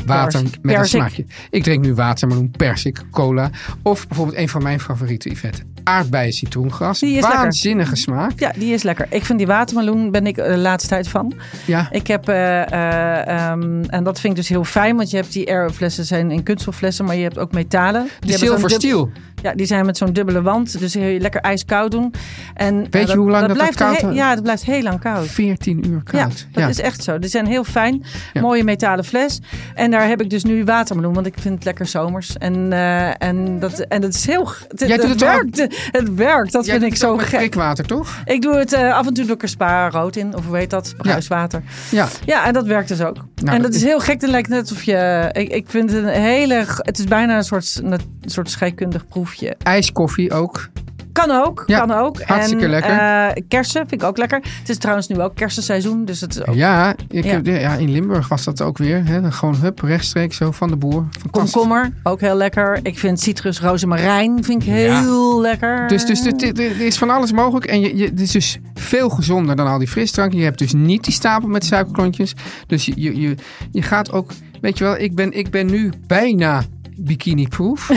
Speaker 2: water
Speaker 3: Persik.
Speaker 2: met
Speaker 3: Persik.
Speaker 2: een smaakje. Ik drink nu watermeloen, persik, cola. Of bijvoorbeeld een van mijn favorieten, Yvette, aardbeien citroengras.
Speaker 3: Die is lekker.
Speaker 2: Waanzinnige smaak.
Speaker 3: ja die is lekker. Ik vind die watermeloen, ben ik eh, de laatste tijd van.
Speaker 2: Ja.
Speaker 3: Ik heb, eh, eh, ehm, en dat vind ik dus heel fijn, want je hebt die aeroflessen zijn in kunststofflessen, maar je hebt ook metalen. Die
Speaker 2: De
Speaker 3: hebben zo'n
Speaker 2: Silver
Speaker 3: dub-
Speaker 2: Steel.
Speaker 3: Ja, die zijn met zo'n dubbele wand, dus heel lekker ijskoud doen. En, Weet
Speaker 2: je hoe lang dat dat
Speaker 3: blijft
Speaker 2: koud
Speaker 3: he-
Speaker 2: houdt?
Speaker 3: Ja, dat blijft heel lang koud.
Speaker 2: 14 uur koud.
Speaker 3: Oh. Ja, dat is echt zo. Die zijn heel fijn.
Speaker 2: Ja.
Speaker 3: Mooie metalen fles. En daar heb ik dus nu watermeloen, want ik vind het lekker zomers. En, eh, en, dat, en dat is heel... Het,
Speaker 2: Jij doet
Speaker 3: het
Speaker 2: het ook-
Speaker 3: werkt. Het werkt. Dat
Speaker 2: Jij
Speaker 3: vind
Speaker 2: doet het
Speaker 3: ik zo
Speaker 2: ook met
Speaker 3: gek.
Speaker 2: prikwater, toch?
Speaker 3: Ik doe het eh, af en toe doe ik er spa rood in. Of hoe heet dat? Bruiswater.
Speaker 2: Ja.
Speaker 3: Ja, en dat werkt dus ook. en
Speaker 2: Nou, dat
Speaker 3: dat
Speaker 2: is-
Speaker 3: is heel gek. Het lijkt net alsof je... Ik, ik vind het een hele... g- Het is bijna een soort, een soort scheikundig proefje.
Speaker 2: ijskoffie ook.
Speaker 3: Kan ook,
Speaker 2: Ja,
Speaker 3: kan ook.
Speaker 2: hartstikke
Speaker 3: en,
Speaker 2: lekker.
Speaker 3: eh, kersen vind ik ook lekker. Het is trouwens nu ook kersenseizoen, dus het is ook
Speaker 2: Ja, ik
Speaker 3: Ja.
Speaker 2: Heb, ja, in Limburg was dat ook weer. Hè? Dan gewoon hup, rechtstreeks zo van de boer. Fantastisch.
Speaker 3: komkommer, ook heel lekker. Ik vind citrus, rozemarijn, vind ik heel lekker.
Speaker 2: Dus, dus dit- dit- dit is van alles mogelijk. En je, je, het is dus veel gezonder dan al die frisdranken. Je hebt dus niet die stapel met suikerklontjes. Dus je, je, je, je gaat ook... Weet je wel, ik ben, ik ben nu bijna bikini-proof.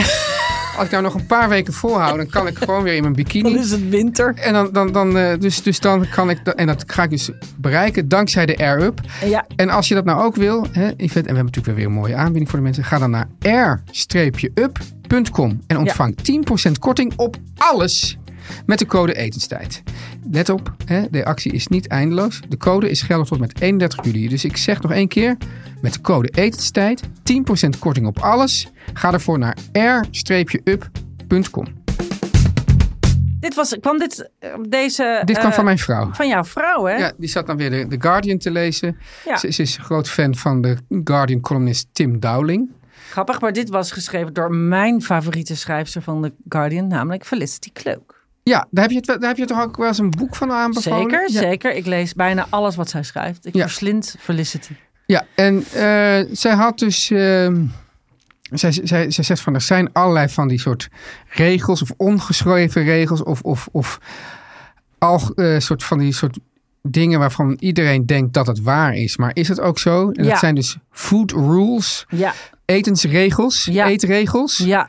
Speaker 2: als ik nou nog een paar weken volhoud, dan kan ik gewoon weer in mijn
Speaker 3: Dan
Speaker 2: bikini.
Speaker 3: is het winter.
Speaker 2: En dan, dan, dan, eh, dus, dus dan kan ik, en dat ga ik dus bereiken dankzij de Air Up.
Speaker 3: Ja,
Speaker 2: En als je dat nou ook wil, hè, Yvette, en we hebben natuurlijk weer een mooie aanbieding voor de mensen, ga dan naar air-up.com en ontvang 10% korting op alles met de code etenstijd. Let op, hè, de actie is niet eindeloos. De code is geldig tot met 31 juli. Dus ik zeg nog één keer, met de code etenstijd 10% korting op alles. Ga ervoor naar air-up.com.
Speaker 3: dit was, kwam dit, eh, deze...
Speaker 2: Dit kwam
Speaker 3: eh,
Speaker 2: van mijn vrouw.
Speaker 3: Van jouw vrouw, hè?
Speaker 2: Ja, die zat dan weer de, The Guardian te lezen.
Speaker 3: Ja.
Speaker 2: Ze, ze is een groot fan van de Guardian-columnist Tim Dowling.
Speaker 3: Grappig, maar dit was geschreven door mijn favoriete schrijfster van The Guardian, namelijk Felicity Cloak.
Speaker 2: Ja, daar heb je, het, wel- daar heb je toch ook wel eens een boek van aanbevolen?
Speaker 3: Zeker,
Speaker 2: Ja,
Speaker 3: zeker. Ik lees bijna alles wat zij schrijft. Ik
Speaker 2: Ja.
Speaker 3: verslind Felicity.
Speaker 2: ja en eh, zij had dus... ehm, zij, zij, zij zegt van, er zijn allerlei van die soort regels... of ongeschreven regels of, of, of al, eh, soort van die soort dingen... waarvan iedereen denkt dat het waar is. Maar is het ook zo? En
Speaker 3: Ja.
Speaker 2: dat zijn dus food rules,
Speaker 3: Ja,
Speaker 2: etensregels,
Speaker 3: Ja.
Speaker 2: eetregels.
Speaker 3: ja.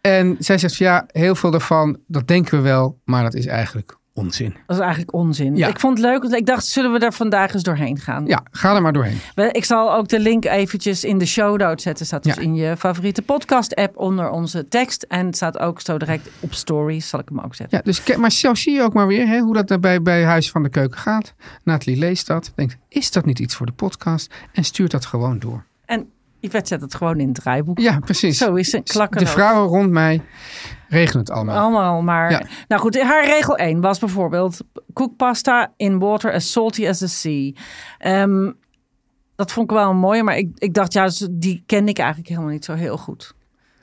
Speaker 2: En zij zegt, van, ja, heel veel daarvan, dat denken we wel... maar dat is eigenlijk onzin.
Speaker 3: Dat is eigenlijk onzin.
Speaker 2: Ja.
Speaker 3: Ik vond het leuk, want ik dacht, zullen we daar vandaag eens doorheen gaan?
Speaker 2: Ja, ga er maar doorheen.
Speaker 3: We- Ik zal ook de link eventjes in de show notes zetten. Staat dus
Speaker 2: Ja.
Speaker 3: in je favoriete podcast app onder onze tekst. En het staat ook zo direct op stories, zal ik hem ook zetten.
Speaker 2: Ja, dus, ke- maar zelf zie je ook maar weer hè, hoe dat daar bij, bij Huis van de Keuken gaat. Nathalie leest dat, denkt, is dat niet iets voor de podcast? En stuurt dat gewoon door.
Speaker 3: En Yvette zet het gewoon in het draaiboek.
Speaker 2: Ja, precies.
Speaker 3: Zo is het,
Speaker 2: de
Speaker 3: klakkeloos. Oh.
Speaker 2: vrouwen rond mij regelen het allemaal.
Speaker 3: Allemaal maar.
Speaker 2: Ja.
Speaker 3: Nou goed, haar regel 1 was bijvoorbeeld... kook pasta in water as salty as the sea. Ehm, dat vond ik wel een mooie, maar ik, ik dacht... ja, zo- die ken ik eigenlijk helemaal niet zo heel goed.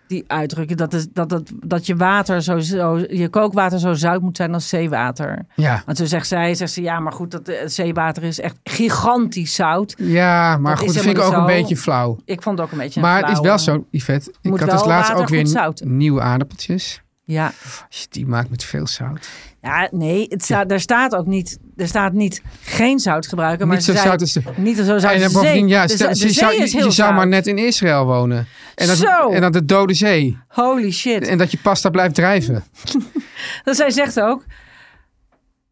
Speaker 3: Die uitdrukking dat, is, dat, dat, dat je water zo, zo... je kookwater zo zout moet zijn als zeewater.
Speaker 2: Ja.
Speaker 3: Want zo zegt zij, zegt ze... ja, maar goed, dat eh, zeewater is echt gigantisch zout.
Speaker 2: ja, maar
Speaker 3: Dat
Speaker 2: goed,
Speaker 3: is
Speaker 2: dat vind ik ook een
Speaker 3: helemaal niet zo.
Speaker 2: beetje flauw.
Speaker 3: Ik vond het ook een beetje een
Speaker 2: Maar het is wel
Speaker 3: flauwe-
Speaker 2: zo, Yvette. Ik
Speaker 3: Moet
Speaker 2: had
Speaker 3: wel
Speaker 2: dus laatst
Speaker 3: water
Speaker 2: ook weer
Speaker 3: goed zouten.
Speaker 2: nieuwe aardappeltjes.
Speaker 3: Ja.
Speaker 2: Als je die maakt met veel zout.
Speaker 3: Ja, nee, het staat, daar staat ook niet, er staat niet geen zout gebruiken, maar
Speaker 2: Niet zo
Speaker 3: ze zei
Speaker 2: zout als de-
Speaker 3: niet zo zout
Speaker 2: en
Speaker 3: als
Speaker 2: dan
Speaker 3: de zee.
Speaker 2: bovendien, ja,
Speaker 3: de,
Speaker 2: stel- dus
Speaker 3: zee- de
Speaker 2: je
Speaker 3: zee
Speaker 2: zou,
Speaker 3: is
Speaker 2: je,
Speaker 3: heel
Speaker 2: je zou maar
Speaker 3: zout.
Speaker 2: net in Israël wonen. En dat,
Speaker 3: Zo.
Speaker 2: en dat de Dode Zee.
Speaker 3: Holy shit.
Speaker 2: En dat je pasta blijft drijven.
Speaker 3: Dat zij zegt ook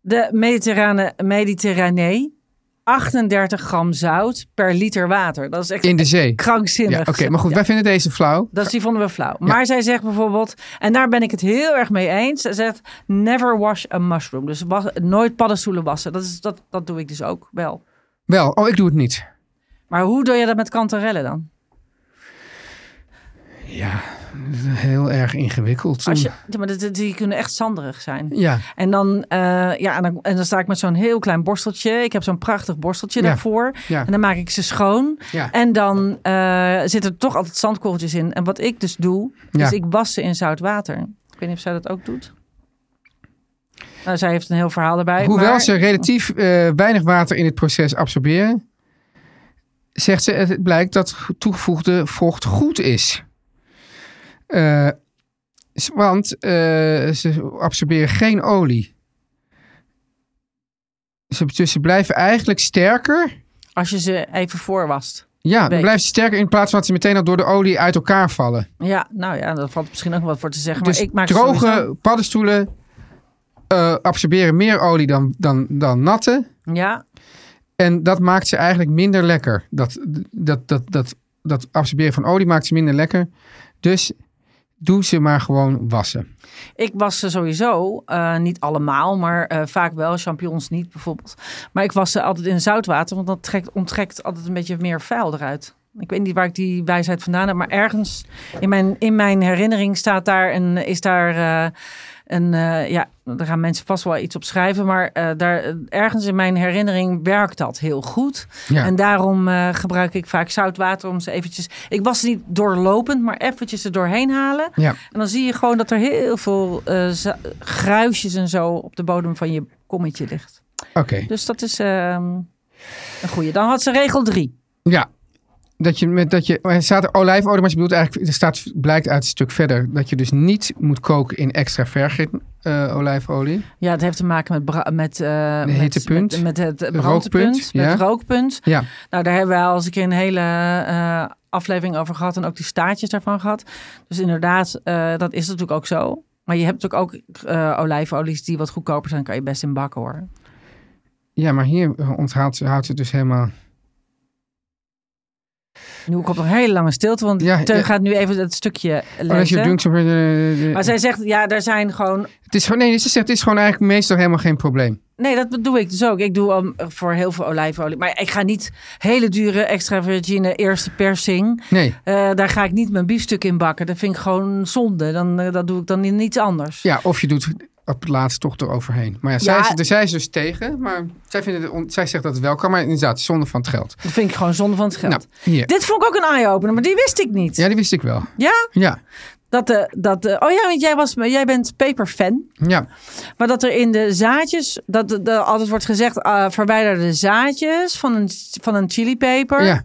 Speaker 3: de mediterrane Mediterranee 38 gram zout per liter water. Dat is echt
Speaker 2: In de zee.
Speaker 3: krankzinnig.
Speaker 2: Ja, oké, maar goed, wij vinden deze flauw.
Speaker 3: Dat die vonden we flauw. Maar zij zegt bijvoorbeeld, en daar ben ik het heel erg mee eens. Zij zegt, never wash a mushroom. Dus was, nooit paddenstoelen wassen. Dat, is, dat, dat doe ik dus ook wel.
Speaker 2: Wel, oh, ik doe het niet.
Speaker 3: Maar hoe doe je dat met kantarellen dan?
Speaker 2: Ja, heel erg ingewikkeld.
Speaker 3: Als je, ja, maar die, die kunnen echt zanderig zijn.
Speaker 2: Ja,
Speaker 3: En dan, eh, ja, en dan, en dan sta ik met zo'n heel klein borsteltje. Ik heb zo'n prachtig borsteltje
Speaker 2: Ja.
Speaker 3: daarvoor.
Speaker 2: Ja.
Speaker 3: En dan maak ik ze schoon.
Speaker 2: Ja.
Speaker 3: En dan eh zitten er toch altijd zandkorreltjes in. En wat ik dus doe,
Speaker 2: Ja.
Speaker 3: is ik was ze in zout water. Ik weet niet of zij dat ook doet. Nou, zij heeft een heel verhaal erbij.
Speaker 2: hoewel
Speaker 3: maar,
Speaker 2: ze relatief eh, weinig water in het proces absorberen, zegt ze, het blijkt dat toegevoegde vocht goed is. Eh, s- want eh, ze absorberen geen olie. Ze, dus ze blijven eigenlijk sterker.
Speaker 3: Als je ze even voorwast.
Speaker 2: Ja, dan
Speaker 3: Weet.
Speaker 2: blijven ze sterker in plaats van dat ze meteen al door de olie uit elkaar vallen.
Speaker 3: Ja, nou ja, daar valt misschien ook wat voor te zeggen.
Speaker 2: Dus
Speaker 3: maar ik maak ze
Speaker 2: droge
Speaker 3: sowieso-
Speaker 2: paddenstoelen eh, absorberen meer olie dan, dan, dan natte.
Speaker 3: Ja,
Speaker 2: En dat maakt ze eigenlijk minder lekker. Dat, dat, dat, dat, dat absorberen van olie maakt ze minder lekker. Dus doe ze maar gewoon wassen.
Speaker 3: Ik was ze sowieso, eh, niet allemaal, maar eh, vaak wel, champignons niet bijvoorbeeld. Maar ik was ze altijd in zoutwater, want dat trekt, onttrekt altijd een beetje meer vuil eruit. Ik weet niet waar ik die wijsheid vandaan heb, maar ergens in mijn, in mijn herinnering staat daar een, is daar eh, een, eh, ja, daar gaan mensen vast wel iets op schrijven, maar eh, daar, ergens in mijn herinnering werkt dat heel goed.
Speaker 2: Ja.
Speaker 3: En daarom eh, gebruik ik vaak zoutwater om ze eventjes, ik was ze niet doorlopend, maar eventjes er doorheen halen.
Speaker 2: Ja.
Speaker 3: En dan zie je gewoon dat er heel veel eh, za- gruisjes en zo op de bodem van je kommetje ligt.
Speaker 2: Oké.
Speaker 3: Dus dat is ehm, een goede. Dan had ze regel drie.
Speaker 2: Ja. dat je met dat je. Er staat olijfolie, maar je bedoelt eigenlijk. Er staat, blijkt uit het stuk verder dat je dus niet moet koken in extra vergin eh, olijfolie.
Speaker 3: Ja, het heeft te maken met, bra- met, eh, met,
Speaker 2: hittepunt.
Speaker 3: met, met het
Speaker 2: rookpunt,
Speaker 3: brandpunt, met
Speaker 2: ja.
Speaker 3: het rookpunt.
Speaker 2: Ja,
Speaker 3: Nou, daar hebben we al eens een keer een hele eh, aflevering over gehad en ook die staartjes daarvan gehad. Dus inderdaad, eh, dat is natuurlijk ook zo. Maar je hebt natuurlijk ook eh, olijfolies die wat goedkoper zijn, kan je best in bakken hoor.
Speaker 2: ja maar hier onthaalt, houdt het dus helemaal.
Speaker 3: Nu komt nog een hele lange stilte, want
Speaker 2: Ja,
Speaker 3: Teun
Speaker 2: ja.
Speaker 3: gaat nu even dat stukje
Speaker 2: Oh, als je
Speaker 3: lezen.
Speaker 2: dunkt, zo- eh, eh,
Speaker 3: maar zij zegt, ja, daar zijn gewoon...
Speaker 2: het is gewoon, nee, ze zegt, het is gewoon eigenlijk meestal helemaal geen probleem.
Speaker 3: Nee, dat doe ik dus ook. Ik doe al voor heel veel olijfolie. Maar ik ga niet hele dure extra virgine eerste persing.
Speaker 2: Nee.
Speaker 3: Eh, daar ga ik niet mijn biefstuk in bakken. Dat vind ik gewoon zonde. Dan, eh, dat doe ik dan in iets anders.
Speaker 2: Ja, of je doet op het laatst toch eroverheen. Maar ja, zij,
Speaker 3: Ja.
Speaker 2: Is, daar- zij is dus tegen, maar zij, vindt het on- zij zegt dat het wel kan, maar inderdaad, zonde van het geld.
Speaker 3: Dat vind ik gewoon zonde van het geld.
Speaker 2: Nou, hier.
Speaker 3: Dit vond ik ook een eye-opener, maar die wist ik niet.
Speaker 2: Ja, die wist ik wel.
Speaker 3: Ja?
Speaker 2: Ja,
Speaker 3: Dat, de, dat de, oh ja, want jij, was, jij bent paperfan.
Speaker 2: ja.
Speaker 3: Maar dat er in de zaadjes, dat de- de- altijd wordt gezegd, eh, verwijder de zaadjes van een, van een chilipeper.
Speaker 2: ja.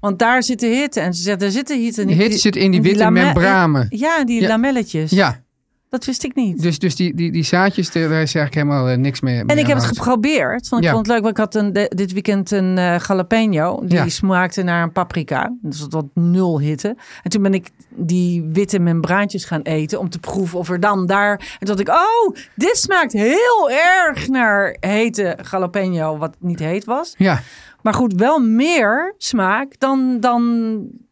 Speaker 3: Want daar zit de hitte. En ze zegt, daar zit de hitte
Speaker 2: De
Speaker 3: niet.
Speaker 2: hitte zit in die witte
Speaker 3: lame-
Speaker 2: membranen.
Speaker 3: Ja, die
Speaker 2: Ja.
Speaker 3: lamelletjes.
Speaker 2: Ja,
Speaker 3: Dat wist ik niet.
Speaker 2: dus, dus die, die, die zaadjes, daar daar is eigenlijk helemaal eh, niks mee.
Speaker 3: En ik heb het geprobeerd, want ik
Speaker 2: Ja.
Speaker 3: vond het leuk. Want ik had een, de- dit weekend een eh, jalapeno. Die
Speaker 2: Ja.
Speaker 3: smaakte naar een paprika. Dus dat had nul hitte. En toen ben ik die witte membraantjes gaan eten om te proeven of er dan daar... En toen dacht ik, oh, dit smaakt heel erg naar hete jalapeno, wat niet heet was.
Speaker 2: Ja,
Speaker 3: Maar goed, wel meer smaak dan... dan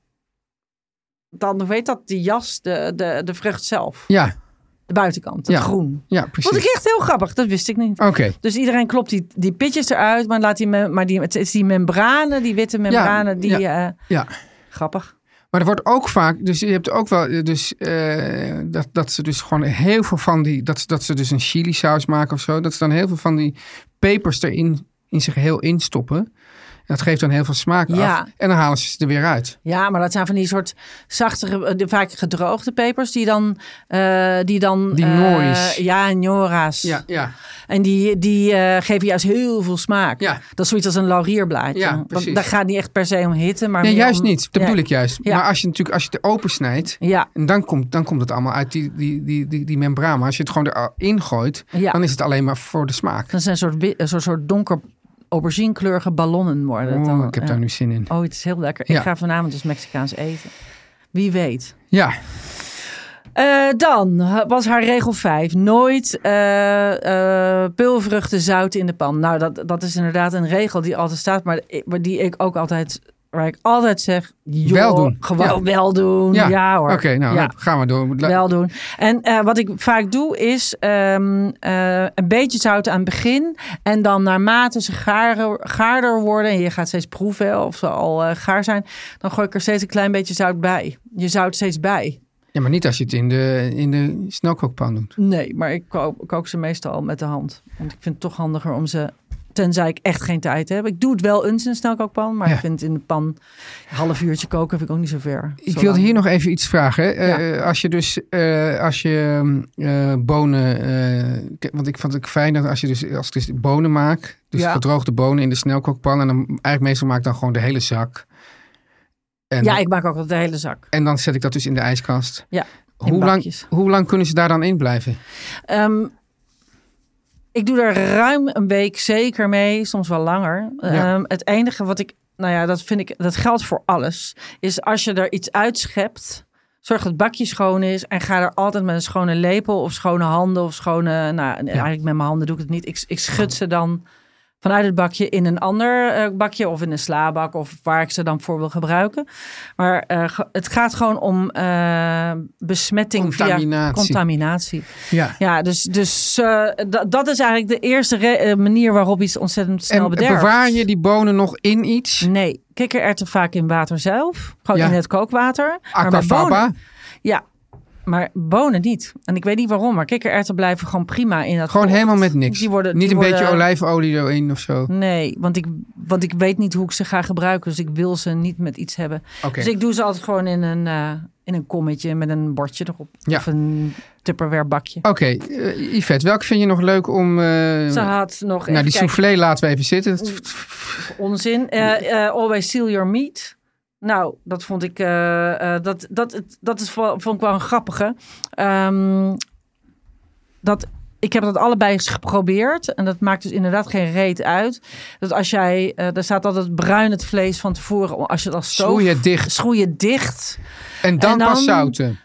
Speaker 3: dan, hoe heet dat, de jas, de, de, de vrucht zelf.
Speaker 2: ja,
Speaker 3: De buitenkant, het
Speaker 2: Ja.
Speaker 3: groen.
Speaker 2: ja,
Speaker 3: Vond
Speaker 2: precies.
Speaker 3: ik echt heel grappig, dat wist ik niet.
Speaker 2: Oké,
Speaker 3: Dus iedereen klopt die, die pitjes eruit, maar, laat die, mem- maar die, het is die membranen, die witte membranen, die... eh,
Speaker 2: ja.
Speaker 3: grappig.
Speaker 2: Maar er wordt ook vaak, dus je hebt ook wel, eh, dus, eh, dat, dat ze dus gewoon heel veel van die, dat, ze- dat ze dus een chili saus maken of zo, dat ze dan heel veel van die pepers erin, in zijn geheel instoppen. En dat geeft dan heel veel smaak
Speaker 3: Ja.
Speaker 2: af. En dan halen ze ze er weer uit.
Speaker 3: Ja, maar dat zijn van die soort zachtere, eh, de- vaak gedroogde pepers, die dan... eh, die dan
Speaker 2: Die
Speaker 3: eh,
Speaker 2: nori's.
Speaker 3: ja, nora's.
Speaker 2: Ja, ja,
Speaker 3: En die, die eh, geven juist heel veel smaak.
Speaker 2: Ja.
Speaker 3: Dat is zoiets als een laurierblaadje.
Speaker 2: Ja,
Speaker 3: Want
Speaker 2: precies.
Speaker 3: Daar gaat niet echt per se om hitte, maar
Speaker 2: Nee,
Speaker 3: meer
Speaker 2: juist
Speaker 3: om-
Speaker 2: niet. Dat
Speaker 3: Ja.
Speaker 2: bedoel ik juist.
Speaker 3: Ja.
Speaker 2: Maar als je natuurlijk, als je het open snijdt,
Speaker 3: Ja,
Speaker 2: en dan komt, dan komt het allemaal uit die, die, die, die, die membraan. Maar als je het gewoon erin gooit,
Speaker 3: Ja.
Speaker 2: dan is het alleen maar voor de smaak.
Speaker 3: dat zijn soort, wi- een soort, soort donker auberginekleurige ballonnen worden. het
Speaker 2: Oeh,
Speaker 3: dan.
Speaker 2: ik heb
Speaker 3: Ja.
Speaker 2: daar nu zin in.
Speaker 3: Oh, het is heel lekker.
Speaker 2: Ja.
Speaker 3: Ik ga vanavond dus Mexicaans eten. Wie weet.
Speaker 2: Ja,
Speaker 3: Eh, dan was haar regel 5. Nooit eh, eh, peulvruchten zout in de pan. Nou, dat, dat is inderdaad een regel die altijd staat. Maar, ik- maar die ik ook altijd... Waar ik altijd zeg... joh,
Speaker 2: Wel doen.
Speaker 3: Gewoon
Speaker 2: Ja.
Speaker 3: wel doen. Ja,
Speaker 2: ja.
Speaker 3: hoor.
Speaker 2: Oké, nou,
Speaker 3: Ja.
Speaker 2: dan gaan we door. La-
Speaker 3: Wel doen. En eh, wat ik vaak doe is ehm, eh, een beetje zout aan het begin. En dan naarmate ze gaarder, gaarder worden. En je gaat steeds proeven of ze al eh, gaar zijn. Dan gooi ik er steeds een klein beetje zout bij. Je zout steeds bij.
Speaker 2: Ja, maar niet als je het in de, in de snelkookpan doet.
Speaker 3: Nee, maar ik kook, kook ze meestal met de hand. Want ik vind het toch handiger om ze... Tenzij ik echt geen tijd heb. Ik doe het wel eens in een snelkookpan. Maar
Speaker 2: Ja.
Speaker 3: ik vind het in de pan een half uurtje koken vind ik ook niet zo ver.
Speaker 2: Ik
Speaker 3: Zo
Speaker 2: wilde
Speaker 3: lang.
Speaker 2: hier nog even iets vragen. Eh, als je dus, eh, als je eh, bonen, eh, ik- want ik vond het fijn dat als je dus, als ik dus bonen maak, dus
Speaker 3: Ja.
Speaker 2: gedroogde bonen in de snelkookpan, en dan eigenlijk meestal maak ik dan gewoon de hele zak. En,
Speaker 3: Ja, ik maak ook altijd de hele zak.
Speaker 2: en dan zet ik dat dus in de ijskast.
Speaker 3: Ja, in
Speaker 2: Hoe lang,
Speaker 3: bakjes.
Speaker 2: hoe lang kunnen ze daar dan in blijven?
Speaker 3: Ehm, ik doe er ruim een week zeker mee, soms wel langer.
Speaker 2: Ja.
Speaker 3: Ehm, het enige wat ik, nou ja, dat vind ik, dat geldt voor alles, is als je er iets uitschept, zorg dat het bakje schoon is en ga er altijd met een schone lepel of schone handen of schone, nou eigenlijk met mijn handen doe ik het niet. Ik, ik schud ze dan vanuit het bakje in een ander eh, bakje of in een slaabak of waar ik ze dan voor wil gebruiken. Maar eh, ge- het gaat gewoon om eh, besmetting via
Speaker 2: Contaminatie.
Speaker 3: contaminatie.
Speaker 2: Ja.
Speaker 3: Ja, dus, dus eh, da- dat is eigenlijk de eerste re- eh, manier waarop iets ontzettend snel
Speaker 2: En
Speaker 3: bederft.
Speaker 2: bewaar je die bonen nog in iets?
Speaker 3: Nee, kikkererwten vaak in water zelf. Gewoon
Speaker 2: Ja.
Speaker 3: in het kookwater. Maar bij bonen,
Speaker 2: Aquafaba?
Speaker 3: ja, maar bonen niet. En ik weet niet waarom, maar kikkererwten blijven gewoon prima in dat
Speaker 2: Gewoon
Speaker 3: kook.
Speaker 2: helemaal met niks.
Speaker 3: Die worden-
Speaker 2: Niet
Speaker 3: die
Speaker 2: een beetje
Speaker 3: worden-
Speaker 2: olijfolie erin of zo.
Speaker 3: Nee, want ik, want ik weet niet hoe ik ze ga gebruiken. Dus ik wil ze niet met iets hebben.
Speaker 2: Oké.
Speaker 3: Dus ik doe ze altijd gewoon in een, eh, in een kommetje met een bordje erop.
Speaker 2: Ja.
Speaker 3: Of een tupperware bakje.
Speaker 2: Oké, eh, Yvette, welke vind je nog leuk om... eh,
Speaker 3: Ze had nog...
Speaker 2: nou,
Speaker 3: even
Speaker 2: die
Speaker 3: kijken.
Speaker 2: soufflé laten we even zitten. Dat-
Speaker 3: onzin. Eh, eh, always seal your meat. Nou, dat vond ik. eh, eh, dat, dat, dat is, vo- vond ik wel een grappige. Ehm, dat, ik heb dat allebei eens geprobeerd. En dat maakt dus inderdaad geen reet uit. Dat als jij. eh daar staat altijd bruin het vlees van tevoren. Als je dat stooft.
Speaker 2: Schroei het dicht.
Speaker 3: schroei je dicht.
Speaker 2: En dan,
Speaker 3: En dan-
Speaker 2: pas zouten.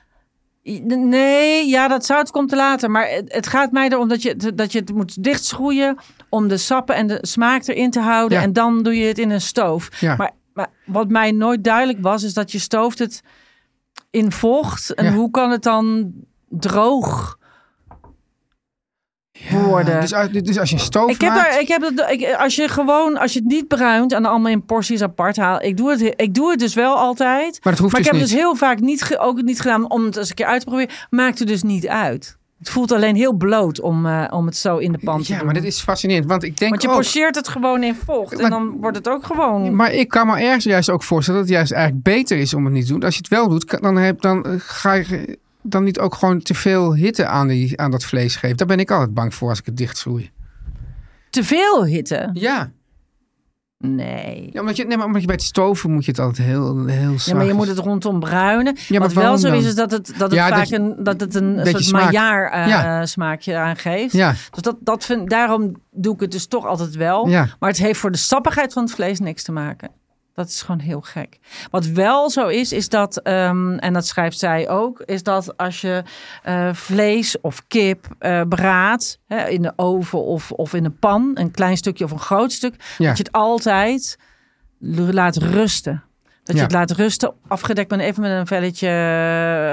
Speaker 3: Nee, ja, dat zout komt te later. Maar het, het gaat mij erom dat je, het- dat je het moet dichtschroeien. Om de sappen en de smaak erin te houden.
Speaker 2: Ja.
Speaker 3: En dan doe je het in een stoof.
Speaker 2: Ja.
Speaker 3: Maar, maar wat mij nooit duidelijk was, is dat je stooft het in vocht. En
Speaker 2: Ja.
Speaker 3: hoe kan het dan droog worden?
Speaker 2: Dus, als- dus als je een stoof
Speaker 3: ik heb,
Speaker 2: maakt,
Speaker 3: daar, ik heb het, ik, als je gewoon, als je het niet bruint en allemaal in porties apart haalt. Ik doe het, ik doe het dus wel altijd.
Speaker 2: Maar dat hoeft
Speaker 3: ik
Speaker 2: dus
Speaker 3: heb
Speaker 2: niet.
Speaker 3: dus heel vaak niet, ge- ook niet gedaan om het eens een keer uit te proberen. Maakt het dus niet uit. Het voelt alleen heel bloot om, eh, om het zo in de pan te
Speaker 2: Ja,
Speaker 3: doen.
Speaker 2: maar dat is fascinerend. Want ik denk
Speaker 3: Want je
Speaker 2: ook-
Speaker 3: pocheert het gewoon in vocht.
Speaker 2: Maar-
Speaker 3: en dan wordt het ook gewoon...
Speaker 2: Maar ik kan me ergens juist ook voorstellen dat het juist eigenlijk beter is om het niet te doen. Als je het wel doet, kan- dan, heb, dan eh, ga je dan niet ook gewoon te veel hitte aan, die, aan dat vlees geven. Daar ben ik altijd bang voor als ik het dichtschroei.
Speaker 3: te veel hitte.
Speaker 2: Ja.
Speaker 3: Nee.
Speaker 2: ja omdat, je, nee maar omdat je bij het stoven moet je het altijd heel, heel
Speaker 3: Ja, maar je
Speaker 2: zachtjes-
Speaker 3: moet het rondom bruinen.
Speaker 2: maar
Speaker 3: Wat wel
Speaker 2: waarom
Speaker 3: zo
Speaker 2: dan?
Speaker 3: is, is dat het, dat het
Speaker 2: Ja, dat
Speaker 3: vaak
Speaker 2: je-
Speaker 3: een, dat het een
Speaker 2: beetje
Speaker 3: soort
Speaker 2: smaak.
Speaker 3: maillard eh,
Speaker 2: Ja.
Speaker 3: smaakje aangeeft.
Speaker 2: Ja.
Speaker 3: Dus dat, dat vind, daarom doe ik het dus toch altijd wel.
Speaker 2: Ja.
Speaker 3: Maar het heeft voor de sappigheid van het vlees niks te maken. Dat is gewoon heel gek. Wat wel zo is, is dat, ehm, en dat schrijft zij ook, is dat als je eh, vlees of kip eh braadt hè, in de oven of, of in een pan, een klein stukje of een groot stuk,
Speaker 2: Ja.
Speaker 3: dat je het altijd l- laat rusten. Dat
Speaker 2: Ja.
Speaker 3: je het laat rusten, afgedekt met even met een velletje,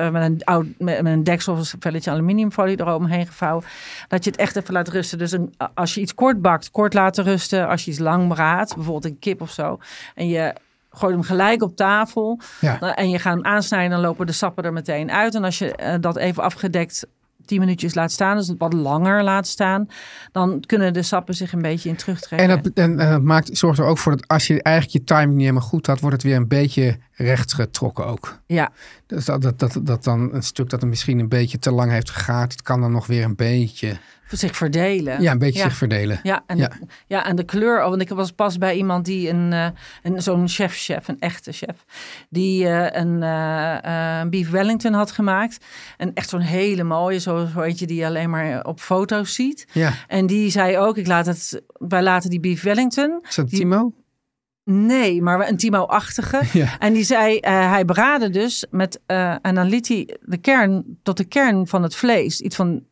Speaker 3: eh, met een, oud, met, met een deksel of een velletje aluminiumfolie eromheen gevouwen. Dat je het echt even laat rusten. Dus een, a- als je iets kort bakt, kort laten rusten. Als je iets lang braadt, bijvoorbeeld een kip of zo. En je gooit hem gelijk op tafel.
Speaker 2: Ja.
Speaker 3: nou, En je gaat hem aansnijden, dan lopen de sappen er meteen uit. En als je eh, dat even afgedekt 10 minuutjes laat staan, dus het wat langer laat staan, dan kunnen de sappen zich een beetje in terugtrekken.
Speaker 2: En dat, en, eh, dat maakt, zorgt er ook voor dat als je eigenlijk je timing niet helemaal goed had, wordt het weer een beetje rechtgetrokken ook.
Speaker 3: Ja.
Speaker 2: Dus dat, dat, dat, dat dan een stuk dat er misschien een beetje te lang heeft gegaat, het kan dan nog weer een beetje,
Speaker 3: zich verdelen.
Speaker 2: ja, een beetje
Speaker 3: Ja.
Speaker 2: zich verdelen.
Speaker 3: Ja en,
Speaker 2: Ja.
Speaker 3: ja. en de kleur. oh, Want ik was pas bij iemand die een, eh, een zo'n chef-chef, een echte chef, die eh, een eh, eh, een beef Wellington had gemaakt. En echt zo'n hele mooie, zo, zo eentje die je alleen maar eh, op foto's ziet.
Speaker 2: Ja.
Speaker 3: En die zei ook, ik laat het, wij laten die beef Wellington.
Speaker 2: Is dat
Speaker 3: Die-
Speaker 2: Timo?
Speaker 3: Nee, maar een Timo-achtige.
Speaker 2: Ja.
Speaker 3: En die zei, eh, hij braadde dus met, eh, en dan liet hij de kern, tot de kern van het vlees, iets van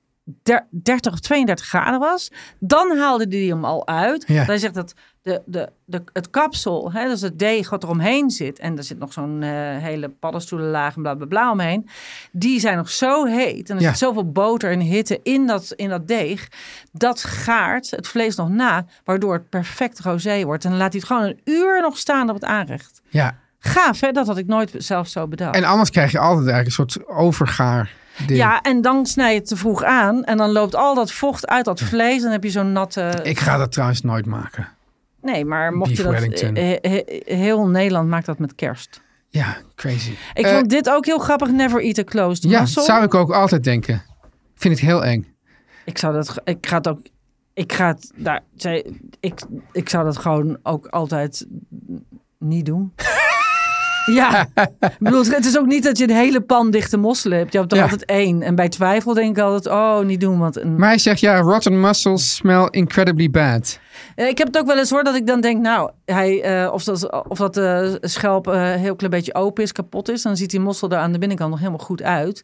Speaker 3: der- 30 of 32 graden was. Dan haalde hij hem al uit.
Speaker 2: Ja.
Speaker 3: Want Hij zegt dat de, de, de, het kapsel, hè, dus het deeg wat eromheen zit, en er zit nog zo'n eh, hele paddenstoelenlaag en bla bla bla omheen, die zijn nog zo heet. En er
Speaker 2: Ja.
Speaker 3: zit zoveel boter en hitte in dat, in dat deeg, dat gaart het vlees nog na, waardoor het perfect rosé wordt. En dan laat hij het gewoon een uur nog staan op het aanrecht.
Speaker 2: Ja,
Speaker 3: Gaaf, hè? Dat had ik nooit zelf zo bedacht.
Speaker 2: en anders krijg je altijd eigenlijk een soort overgaar ding.
Speaker 3: ja, en dan snij je het te vroeg aan en dan loopt al dat vocht uit dat vlees. Dan heb je zo'n natte...
Speaker 2: Ik ga dat trouwens nooit maken.
Speaker 3: Nee, maar mocht
Speaker 2: Beef
Speaker 3: je dat...
Speaker 2: Wellington.
Speaker 3: eh, eh, eh, heel Nederland maakt dat met kerst.
Speaker 2: Ja, crazy.
Speaker 3: Ik
Speaker 2: Eh,
Speaker 3: vond dit ook heel grappig. Never eat a closed
Speaker 2: ja,
Speaker 3: mussel.
Speaker 2: zou ik ook altijd denken. Ik vind het heel eng.
Speaker 3: Ik zou dat... ge- Ik ga het ook... Ik ga het... Daar, zij, ik, ik zou dat gewoon ook altijd niet doen. ja. ik bedoel, het is ook niet dat je een hele pan dichte mosselen hebt. Je hebt er
Speaker 2: Ja.
Speaker 3: altijd één. En bij twijfel denk ik altijd... Oh, niet doen, want... Een,
Speaker 2: Maar hij zegt, ja, rotten mussels smell incredibly bad.
Speaker 3: Eh, Ik heb het ook wel eens hoor dat ik dan denk, nou, hij, eh, of dat, of dat eh, schelp eh, een heel klein beetje open is, kapot is, dan ziet die mossel er aan de binnenkant nog helemaal goed uit.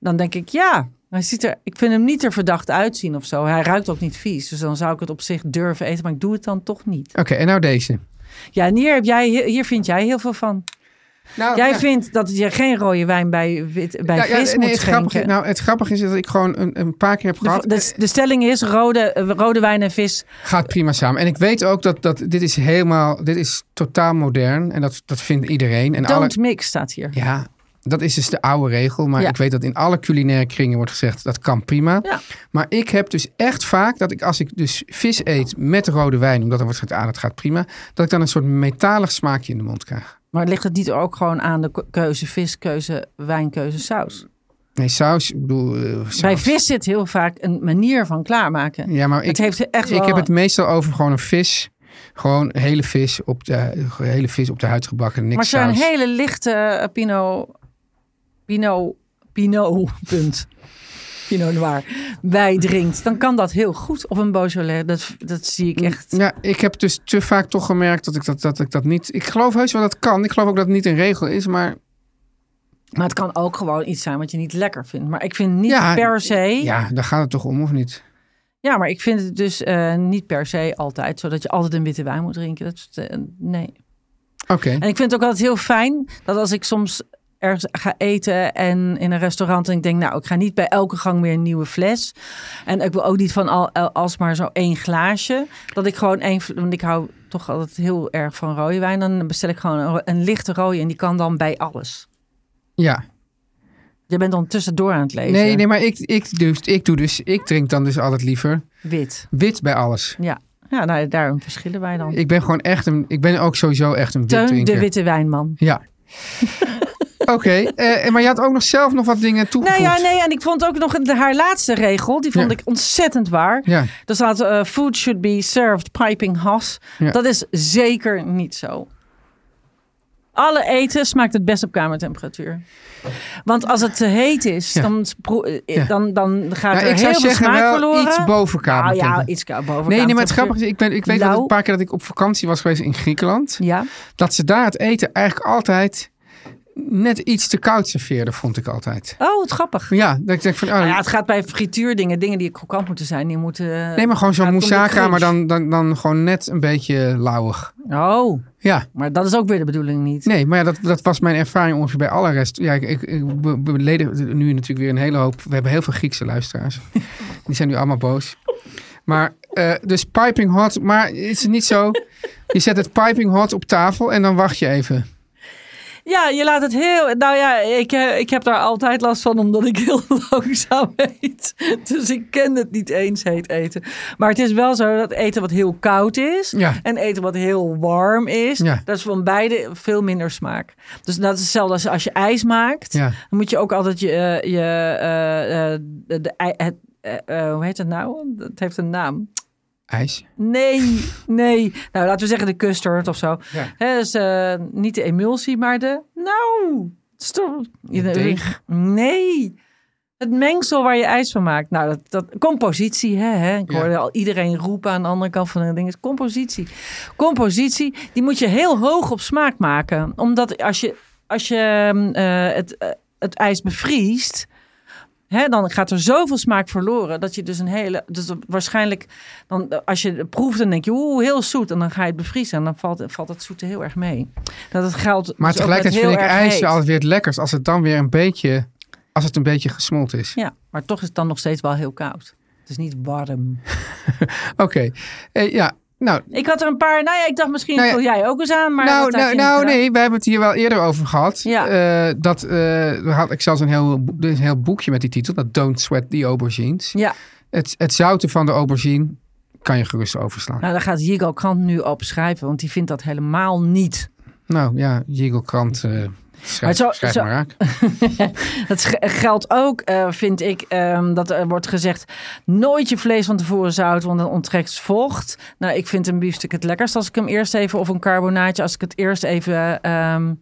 Speaker 3: Dan denk ik, ja, hij ziet er, ik vind hem niet er verdacht uitzien of zo. Hij ruikt ook niet vies, dus dan zou ik het op zich durven eten, maar ik doe het dan toch niet.
Speaker 2: Oké, en nou deze.
Speaker 3: Ja, en hier, heb jij, hier vind jij heel veel van.
Speaker 2: Nou,
Speaker 3: Jij
Speaker 2: ja.
Speaker 3: vindt dat je geen rode wijn bij, wit, bij
Speaker 2: Ja, ja,
Speaker 3: vis
Speaker 2: nee,
Speaker 3: moet
Speaker 2: het
Speaker 3: schenken.
Speaker 2: grappige, nou, het grappige is dat ik gewoon een, een paar keer heb
Speaker 3: de,
Speaker 2: gehad.
Speaker 3: de, de stelling is rode, eh, rode wijn en vis.
Speaker 2: Gaat prima samen. En ik weet ook dat, dat dit is helemaal, dit is totaal modern. En dat, dat vindt iedereen. En
Speaker 3: Don't
Speaker 2: alle,
Speaker 3: mix staat hier.
Speaker 2: Ja, dat is dus de oude regel. Maar
Speaker 3: Ja.
Speaker 2: ik weet dat in alle culinaire kringen wordt gezegd dat kan prima.
Speaker 3: Ja.
Speaker 2: Maar ik heb dus echt vaak dat ik als ik dus vis eet met rode wijn, omdat dan wordt gezegd, ah dat gaat prima, dat ik dan een soort metalig smaakje in de mond krijg.
Speaker 3: Maar ligt het niet ook gewoon aan de ke- keuze vis, keuze wijn, keuze saus?
Speaker 2: Nee, saus, ik bedoel... eh, saus.
Speaker 3: Bij vis zit heel vaak een manier van klaarmaken.
Speaker 2: Ja, maar ik,
Speaker 3: het heeft echt
Speaker 2: ik
Speaker 3: wel-
Speaker 2: heb het meestal over gewoon een vis Gewoon hele vis op de, hele vis op de huid gebakken. Niks
Speaker 3: Maar zo'n
Speaker 2: saus.
Speaker 3: hele lichte eh, Pinot. Pinot. Pinot. Punt. Pinot Noir. Bij drinkt. Dan kan dat heel goed. Of een Beaujolais. Dat, dat zie
Speaker 2: Mm,
Speaker 3: ik echt.
Speaker 2: Ja, ik heb dus te vaak toch gemerkt dat ik dat, dat ik dat niet... Ik geloof heus wel dat kan. Ik geloof ook dat het niet een regel is, maar...
Speaker 3: Maar het kan ook gewoon iets zijn wat je niet lekker vindt. Maar ik vind niet
Speaker 2: Ja,
Speaker 3: per se. Ja.
Speaker 2: Ja, daar gaat het toch om, of niet?
Speaker 3: maar ik vind het dus eh, niet per se altijd. Zodat je altijd een witte wijn moet drinken. Dat, is, eh, nee.
Speaker 2: Oké.
Speaker 3: En ik vind het ook altijd heel fijn dat als ik soms ergens ga eten en in een restaurant en ik denk, nou, ik ga niet bij elke gang weer een nieuwe fles. En ik wil ook niet van al, al- alsmaar zo één glaasje. Dat ik gewoon één, fl- want ik hou toch altijd heel erg van rode wijn. Dan bestel ik gewoon een, ro- een lichte rode en die kan dan bij alles.
Speaker 2: Ja.
Speaker 3: Je bent dan tussendoor aan het lezen.
Speaker 2: Nee, nee, maar ik, ik, dus, ik doe dus... Ik drink dan dus altijd liever
Speaker 3: Wit.
Speaker 2: wit bij alles.
Speaker 3: Ja, ja nou, daarom verschillen wij dan.
Speaker 2: Ik ben gewoon echt een... Ik ben ook sowieso echt een wit
Speaker 3: Teun,
Speaker 2: drinker.
Speaker 3: de witte wijnman.
Speaker 2: Ja. Oké, eh, maar je had ook nog zelf nog wat dingen toegevoegd.
Speaker 3: Nou ja, nee, en ik vond ook nog de- haar laatste regel, die vond
Speaker 2: Ja.
Speaker 3: ik ontzettend waar.
Speaker 2: Ja.
Speaker 3: Er staat eh, food should be served piping hot.
Speaker 2: Ja.
Speaker 3: Dat is zeker niet zo. Alle eten smaakt het best op kamertemperatuur. Want als het te heet is,
Speaker 2: Ja.
Speaker 3: dan, pro- eh,
Speaker 2: Ja.
Speaker 3: dan, dan gaat
Speaker 2: Nou,
Speaker 3: er
Speaker 2: ik
Speaker 3: heel
Speaker 2: zou
Speaker 3: veel
Speaker 2: zeggen
Speaker 3: smaak
Speaker 2: wel
Speaker 3: verloren.
Speaker 2: iets boven
Speaker 3: Nou
Speaker 2: kamertemperatuur.
Speaker 3: ja, iets ka- boven
Speaker 2: Nee, nee, maar het
Speaker 3: kamertemperatuur.
Speaker 2: grappige is, ik, ben, ik weet dat
Speaker 3: Lauw.
Speaker 2: een paar keer dat ik op vakantie was geweest in Griekenland.
Speaker 3: Nou- Ja,
Speaker 2: Dat ze daar het eten eigenlijk altijd net iets te koud serveerden, vond ik altijd.
Speaker 3: oh, wat grappig.
Speaker 2: Ja, dat ik denk van, oh,
Speaker 3: Nou ja, het gaat bij frituurdingen, dingen die krokant moeten zijn, die moeten... eh,
Speaker 2: nee, maar gewoon
Speaker 3: Ja,
Speaker 2: zo'n
Speaker 3: het komt
Speaker 2: moussaka,
Speaker 3: door
Speaker 2: maar dan, dan, dan gewoon net een beetje lauwig.
Speaker 3: Oh,
Speaker 2: Ja,
Speaker 3: maar dat is ook weer de bedoeling niet.
Speaker 2: nee, maar ja, dat, dat was mijn ervaring ongeveer bij alle rest. Ja, ik, ik, ik be- beleden nu natuurlijk weer een hele hoop, we hebben heel veel Griekse luisteraars. Die zijn nu allemaal boos. Maar, eh, dus piping hot, maar is het niet zo? Je zet het piping hot op tafel en dan wacht je even.
Speaker 3: Ja, je laat het heel. Nou ja, ik, eh, ik heb daar altijd last van omdat ik heel langzaam eet. Dus ik ken het niet eens heet eten. Maar het is wel zo dat eten wat heel koud is
Speaker 2: Ja.
Speaker 3: en eten wat heel warm is,
Speaker 2: Ja.
Speaker 3: dat is van beide veel minder smaak. Dus dat is hetzelfde als als je ijs maakt.
Speaker 2: Ja.
Speaker 3: Dan moet je ook altijd je, eh, je eh, eh, de, de ei- het, eh, eh, hoe heet het nou? Het heeft een naam.
Speaker 2: IJs.
Speaker 3: Nee, nee. Nou, laten we zeggen de custard of zo.
Speaker 2: Ja.
Speaker 3: Hè, dus eh, niet de emulsie, maar de... Nou, stop. Je-
Speaker 2: deeg.
Speaker 3: Nee. Het mengsel waar je ijs van maakt. Nou, dat, dat compositie, hè, hè. Ik
Speaker 2: Ja.
Speaker 3: hoorde al iedereen roepen aan de andere kant van de ding. Is compositie. Compositie, die moet je heel hoog op smaak maken. Omdat als je, als je eh, het, eh, het ijs bevriest... Hè, dan gaat er zoveel smaak verloren dat je dus een hele. Dus waarschijnlijk, dan, eh, als je het proeft, dan denk je, oeh, heel zoet. En dan ga je het bevriezen en dan valt, valt het zoete heel erg mee. Dat het geldt.
Speaker 2: Maar
Speaker 3: dus ook met
Speaker 2: tegelijkertijd
Speaker 3: heel
Speaker 2: vind ik
Speaker 3: erg
Speaker 2: ijs
Speaker 3: heet.
Speaker 2: altijd weer het lekkerst als het dan weer een beetje, als het een beetje gesmolten is.
Speaker 3: Ja, maar toch is het dan nog steeds wel heel koud. Het is niet warm.
Speaker 2: Oké, Eh, ja. Nou,
Speaker 3: Ik had er een paar. Nou ja, ik dacht misschien
Speaker 2: Nou ja.
Speaker 3: vul jij ook eens aan. Maar
Speaker 2: nou,
Speaker 3: dat had
Speaker 2: nou,
Speaker 3: je niet
Speaker 2: nou
Speaker 3: gedaan.
Speaker 2: nee, we hebben het hier wel eerder over gehad.
Speaker 3: Ja.
Speaker 2: Eh, dat, eh, we had, ik zelfs een heel, bo- er is een heel boekje met die titel, dat Don't Sweat the Aubergines.
Speaker 3: Ja,
Speaker 2: Het, het zouten van de aubergine kan je gerust overslaan.
Speaker 3: nou daar gaat Jigo Krant nu op schrijven, want die vindt dat helemaal niet.
Speaker 2: Nou ja, Jiggle Krant, eh, schrijf,
Speaker 3: zo-
Speaker 2: schrijf
Speaker 3: zo-
Speaker 2: maar raak.
Speaker 3: Dat ge- geldt ook, eh, vind ik, ehm, dat er wordt gezegd... nooit je vlees van tevoren zout, want dan onttrekt vocht. Nou, ik vind een biefstuk het lekkerst als ik hem eerst even... of een carbonaatje als ik het eerst even ehm,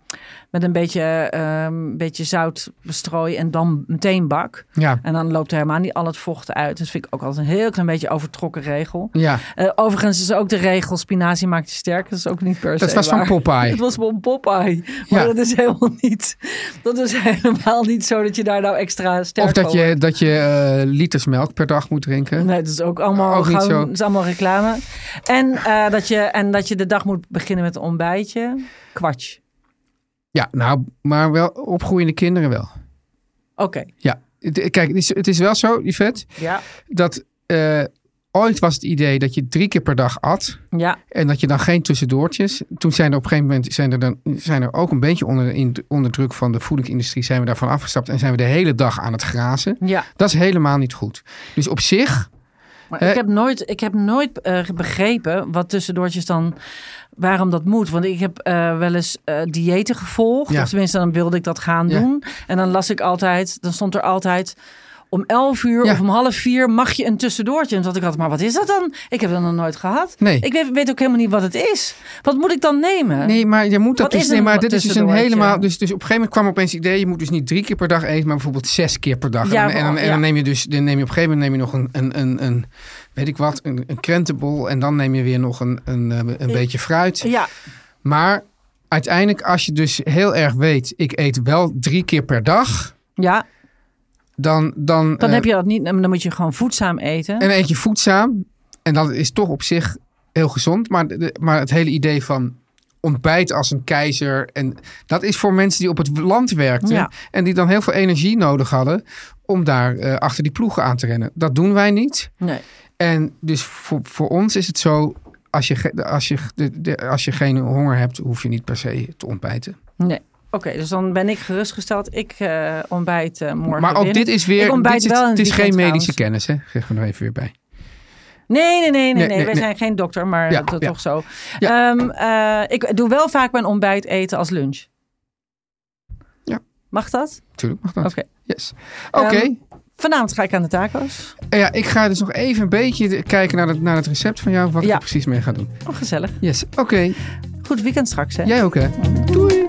Speaker 3: met een beetje, ehm, beetje zout bestrooi... en dan meteen bak.
Speaker 2: Ja,
Speaker 3: En dan loopt er helemaal niet al het vocht uit. Dus vind ik ook altijd een heel klein beetje overtrokken regel.
Speaker 2: ja.
Speaker 3: Eh, overigens is ook de regel, spinazie maakt je sterk. Dat is ook niet per se
Speaker 2: dat was van
Speaker 3: waar.
Speaker 2: Popeye.
Speaker 3: Het was wel een Popeye. Maar
Speaker 2: Ja.
Speaker 3: dat is helemaal niet. Dat is helemaal niet zo dat je daar nou extra sterk
Speaker 2: Of dat
Speaker 3: van
Speaker 2: je, dat je eh, liters melk per dag moet drinken.
Speaker 3: wordt. Nee, dat is ook allemaal,
Speaker 2: Ook niet
Speaker 3: gewoon-
Speaker 2: Oh, zo.
Speaker 3: het is allemaal reclame. En, eh, dat je, en dat je de dag moet beginnen met een ontbijtje. Kwatsch.
Speaker 2: Ja, nou, maar wel opgroeiende kinderen wel.
Speaker 3: Oké.
Speaker 2: Ja, Het- kijk, het is, het is wel zo, Yvette,
Speaker 3: Ja.
Speaker 2: dat eh, ooit was het idee dat je drie keer per dag at
Speaker 3: Ja.
Speaker 2: en dat je dan geen tussendoortjes. Toen zijn er op een gegeven moment, zijn er, dan, zijn er ook een beetje onder, in, onder druk van de voedingsindustrie, zijn we daarvan afgestapt en zijn we de hele dag aan het grazen.
Speaker 3: Ja.
Speaker 2: Dat is helemaal niet goed. Dus op zich,
Speaker 3: Maar
Speaker 2: Eh.
Speaker 3: ik heb nooit, ik heb nooit eh, begrepen wat tussendoortjes dan, waarom dat moet. Want ik heb eh, wel eens eh, diëten gevolgd.
Speaker 2: Ja.
Speaker 3: Of tenminste, dan wilde ik dat gaan
Speaker 2: Ja.
Speaker 3: doen. En dan las ik altijd, dan stond er altijd om elf uur
Speaker 2: Ja.
Speaker 3: of om half vier mag je een tussendoortje. En toen had ik altijd, maar wat is dat dan? Ik heb dat nog nooit gehad.
Speaker 2: Nee.
Speaker 3: Ik weet, weet ook helemaal niet wat het is. Wat moet ik dan nemen?
Speaker 2: Nee, maar je moet dat
Speaker 3: Wat
Speaker 2: dus.
Speaker 3: is
Speaker 2: Nee,
Speaker 3: een
Speaker 2: maar dit is dus een
Speaker 3: tussendoortje?
Speaker 2: helemaal. Dus, dus op een gegeven moment kwam opeens het idee: je moet dus niet drie keer per dag eten, maar bijvoorbeeld zes keer per dag.
Speaker 3: Ja,
Speaker 2: en, dan, en, dan, en
Speaker 3: ja.
Speaker 2: dan neem je dus, dan neem je op een gegeven moment neem je nog een, een, een, een weet ik wat, een, een krentenbol. En dan neem je weer nog een, een, eh, een beetje fruit.
Speaker 3: Ja,
Speaker 2: Maar uiteindelijk, als je dus heel erg weet, ik eet wel drie keer per dag,
Speaker 3: ja
Speaker 2: dan. Dan,
Speaker 3: dan
Speaker 2: eh,
Speaker 3: heb je dat niet. Dan moet je gewoon voedzaam eten.
Speaker 2: En eet je voedzaam. En dat is toch op zich heel gezond. Maar, de- de- maar het hele idee van ontbijt als een keizer. En dat is voor mensen die op het land werkten.
Speaker 3: Ja.
Speaker 2: En die dan heel veel energie nodig hadden. Om daar eh, achter die ploegen aan te rennen. Dat doen wij niet.
Speaker 3: nee.
Speaker 2: En dus voor, voor ons is het zo. Als je, ge- als, je, de- de- als je geen honger hebt, hoef je niet per se te ontbijten.
Speaker 3: nee. Oké, dus dan ben ik gerustgesteld. Ik eh, ontbijt eh, morgen.
Speaker 2: maar ook
Speaker 3: weer.
Speaker 2: dit is weer.
Speaker 3: Ik ontbijt
Speaker 2: dit is,
Speaker 3: wel in
Speaker 2: het
Speaker 3: het
Speaker 2: is geen medische
Speaker 3: weekend
Speaker 2: kennis, hè? Zeg er nog even weer bij.
Speaker 3: Nee, nee, nee, nee,
Speaker 2: Nee,
Speaker 3: nee.
Speaker 2: nee,
Speaker 3: Wij
Speaker 2: nee.
Speaker 3: zijn geen dokter, maar
Speaker 2: Ja,
Speaker 3: dat is
Speaker 2: ja.
Speaker 3: toch zo.
Speaker 2: Ja.
Speaker 3: Ehm, eh, ik doe wel vaak mijn ontbijt eten als lunch.
Speaker 2: Ja.
Speaker 3: Mag dat?
Speaker 2: Natuurlijk mag dat.
Speaker 3: Oké.
Speaker 2: Yes. Oké.
Speaker 3: Ehm, Vanavond ga ik aan de taco's.
Speaker 2: Ja, ik ga dus nog even een beetje de- kijken naar het, naar het recept van jou. Wat ik
Speaker 3: Ja.
Speaker 2: er precies mee ga doen.
Speaker 3: Oh, gezellig.
Speaker 2: Yes, oké.
Speaker 3: Goed weekend straks, hè?
Speaker 2: Jij ook, hè? Doei!